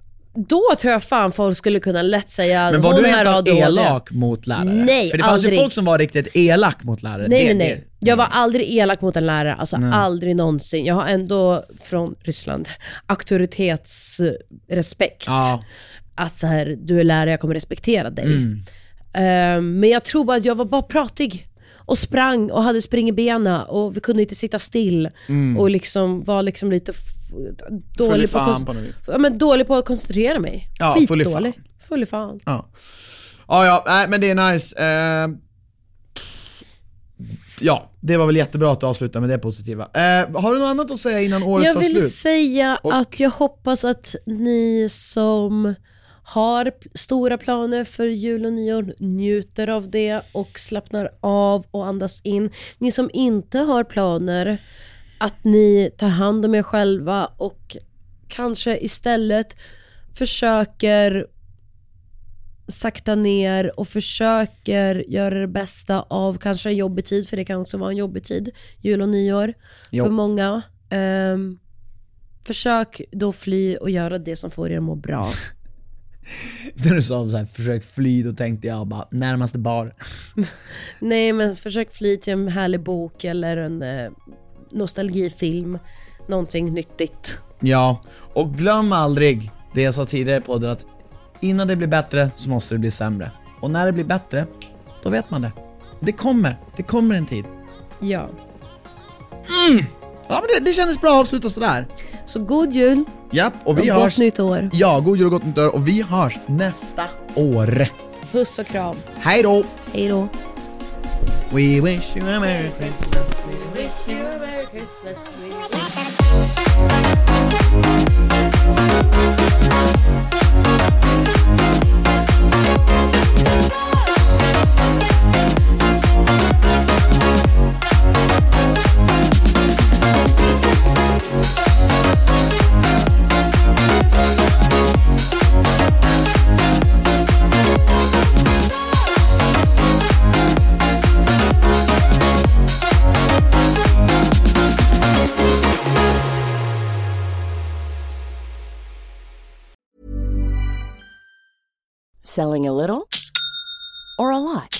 Speaker 2: då tror jag fan folk skulle kunna lätt säga
Speaker 1: Men var
Speaker 2: hon
Speaker 1: du
Speaker 2: här har
Speaker 1: rent av
Speaker 2: ADHD.
Speaker 1: elak mot lärare?
Speaker 2: Nej,
Speaker 1: För det fanns ju
Speaker 2: aldrig.
Speaker 1: folk som var riktigt elak mot lärare.
Speaker 2: Nej,
Speaker 1: det,
Speaker 2: nej, nej. Jag var aldrig elak mot en lärare, alltså aldrig någonsin. Jag har ändå från Ryssland auktoritetsrespekt.
Speaker 1: Ja.
Speaker 2: Att så här, du är lärare, jag kommer respektera dig.
Speaker 1: Mm.
Speaker 2: Ehm, men jag tror bara att jag var bara pratig och sprang och hade spring i benen och vi kunde inte sitta still och liksom var liksom lite f-
Speaker 1: Mm. Full i
Speaker 2: dålig på,
Speaker 1: fan
Speaker 2: kon-
Speaker 1: på något vis.
Speaker 2: ja, men dålig på att koncentrera mig.
Speaker 1: Ja, full i fan.
Speaker 2: Skitdålig. Full i fan.
Speaker 1: Ja. Ja, ja, nej men det är nice. Eh, ja, det var väl jättebra att du avslutade med det positiva. Eh, har du något annat att säga innan året
Speaker 2: Jag
Speaker 1: tar
Speaker 2: vill
Speaker 1: slut?
Speaker 2: säga
Speaker 1: Och-
Speaker 2: att jag hoppas att ni som har p- stora planer för jul och nyår njuter av det och slappnar av och andas in. Ni som inte har planer, att ni tar hand om er själva och kanske istället försöker sakta ner och försöker göra det bästa av kanske en jobbig tid, för det kan också vara en jobbig tid, jul och nyår
Speaker 1: Jo.
Speaker 2: för många. Ehm, försök då fly och göra det som får er att må bra.
Speaker 1: [laughs] När du sa så här, försök fly, då tänkte jag bara närmaste bar.
Speaker 2: Nej men försök fly till en härlig bok eller en eh, nostalgifilm, någonting nyttigt.
Speaker 1: Ja, och glöm aldrig det jag sa tidigare på podden att innan det blir bättre så måste det bli sämre. Och när det blir bättre, då vet man det. Det kommer, det kommer en tid.
Speaker 2: Ja.
Speaker 1: Ja men det, det kändes bra att avsluta sådär.
Speaker 2: Så god jul
Speaker 1: Japp, och vi
Speaker 2: och
Speaker 1: hörs...
Speaker 2: gott nytt år.
Speaker 1: Ja, god jul och gott nytt år och vi hörs nästa år.
Speaker 2: Puss och kram.
Speaker 1: Hej då!
Speaker 2: Hej då.
Speaker 1: We wish you a merry Christmas.
Speaker 4: Selling a little or a lot?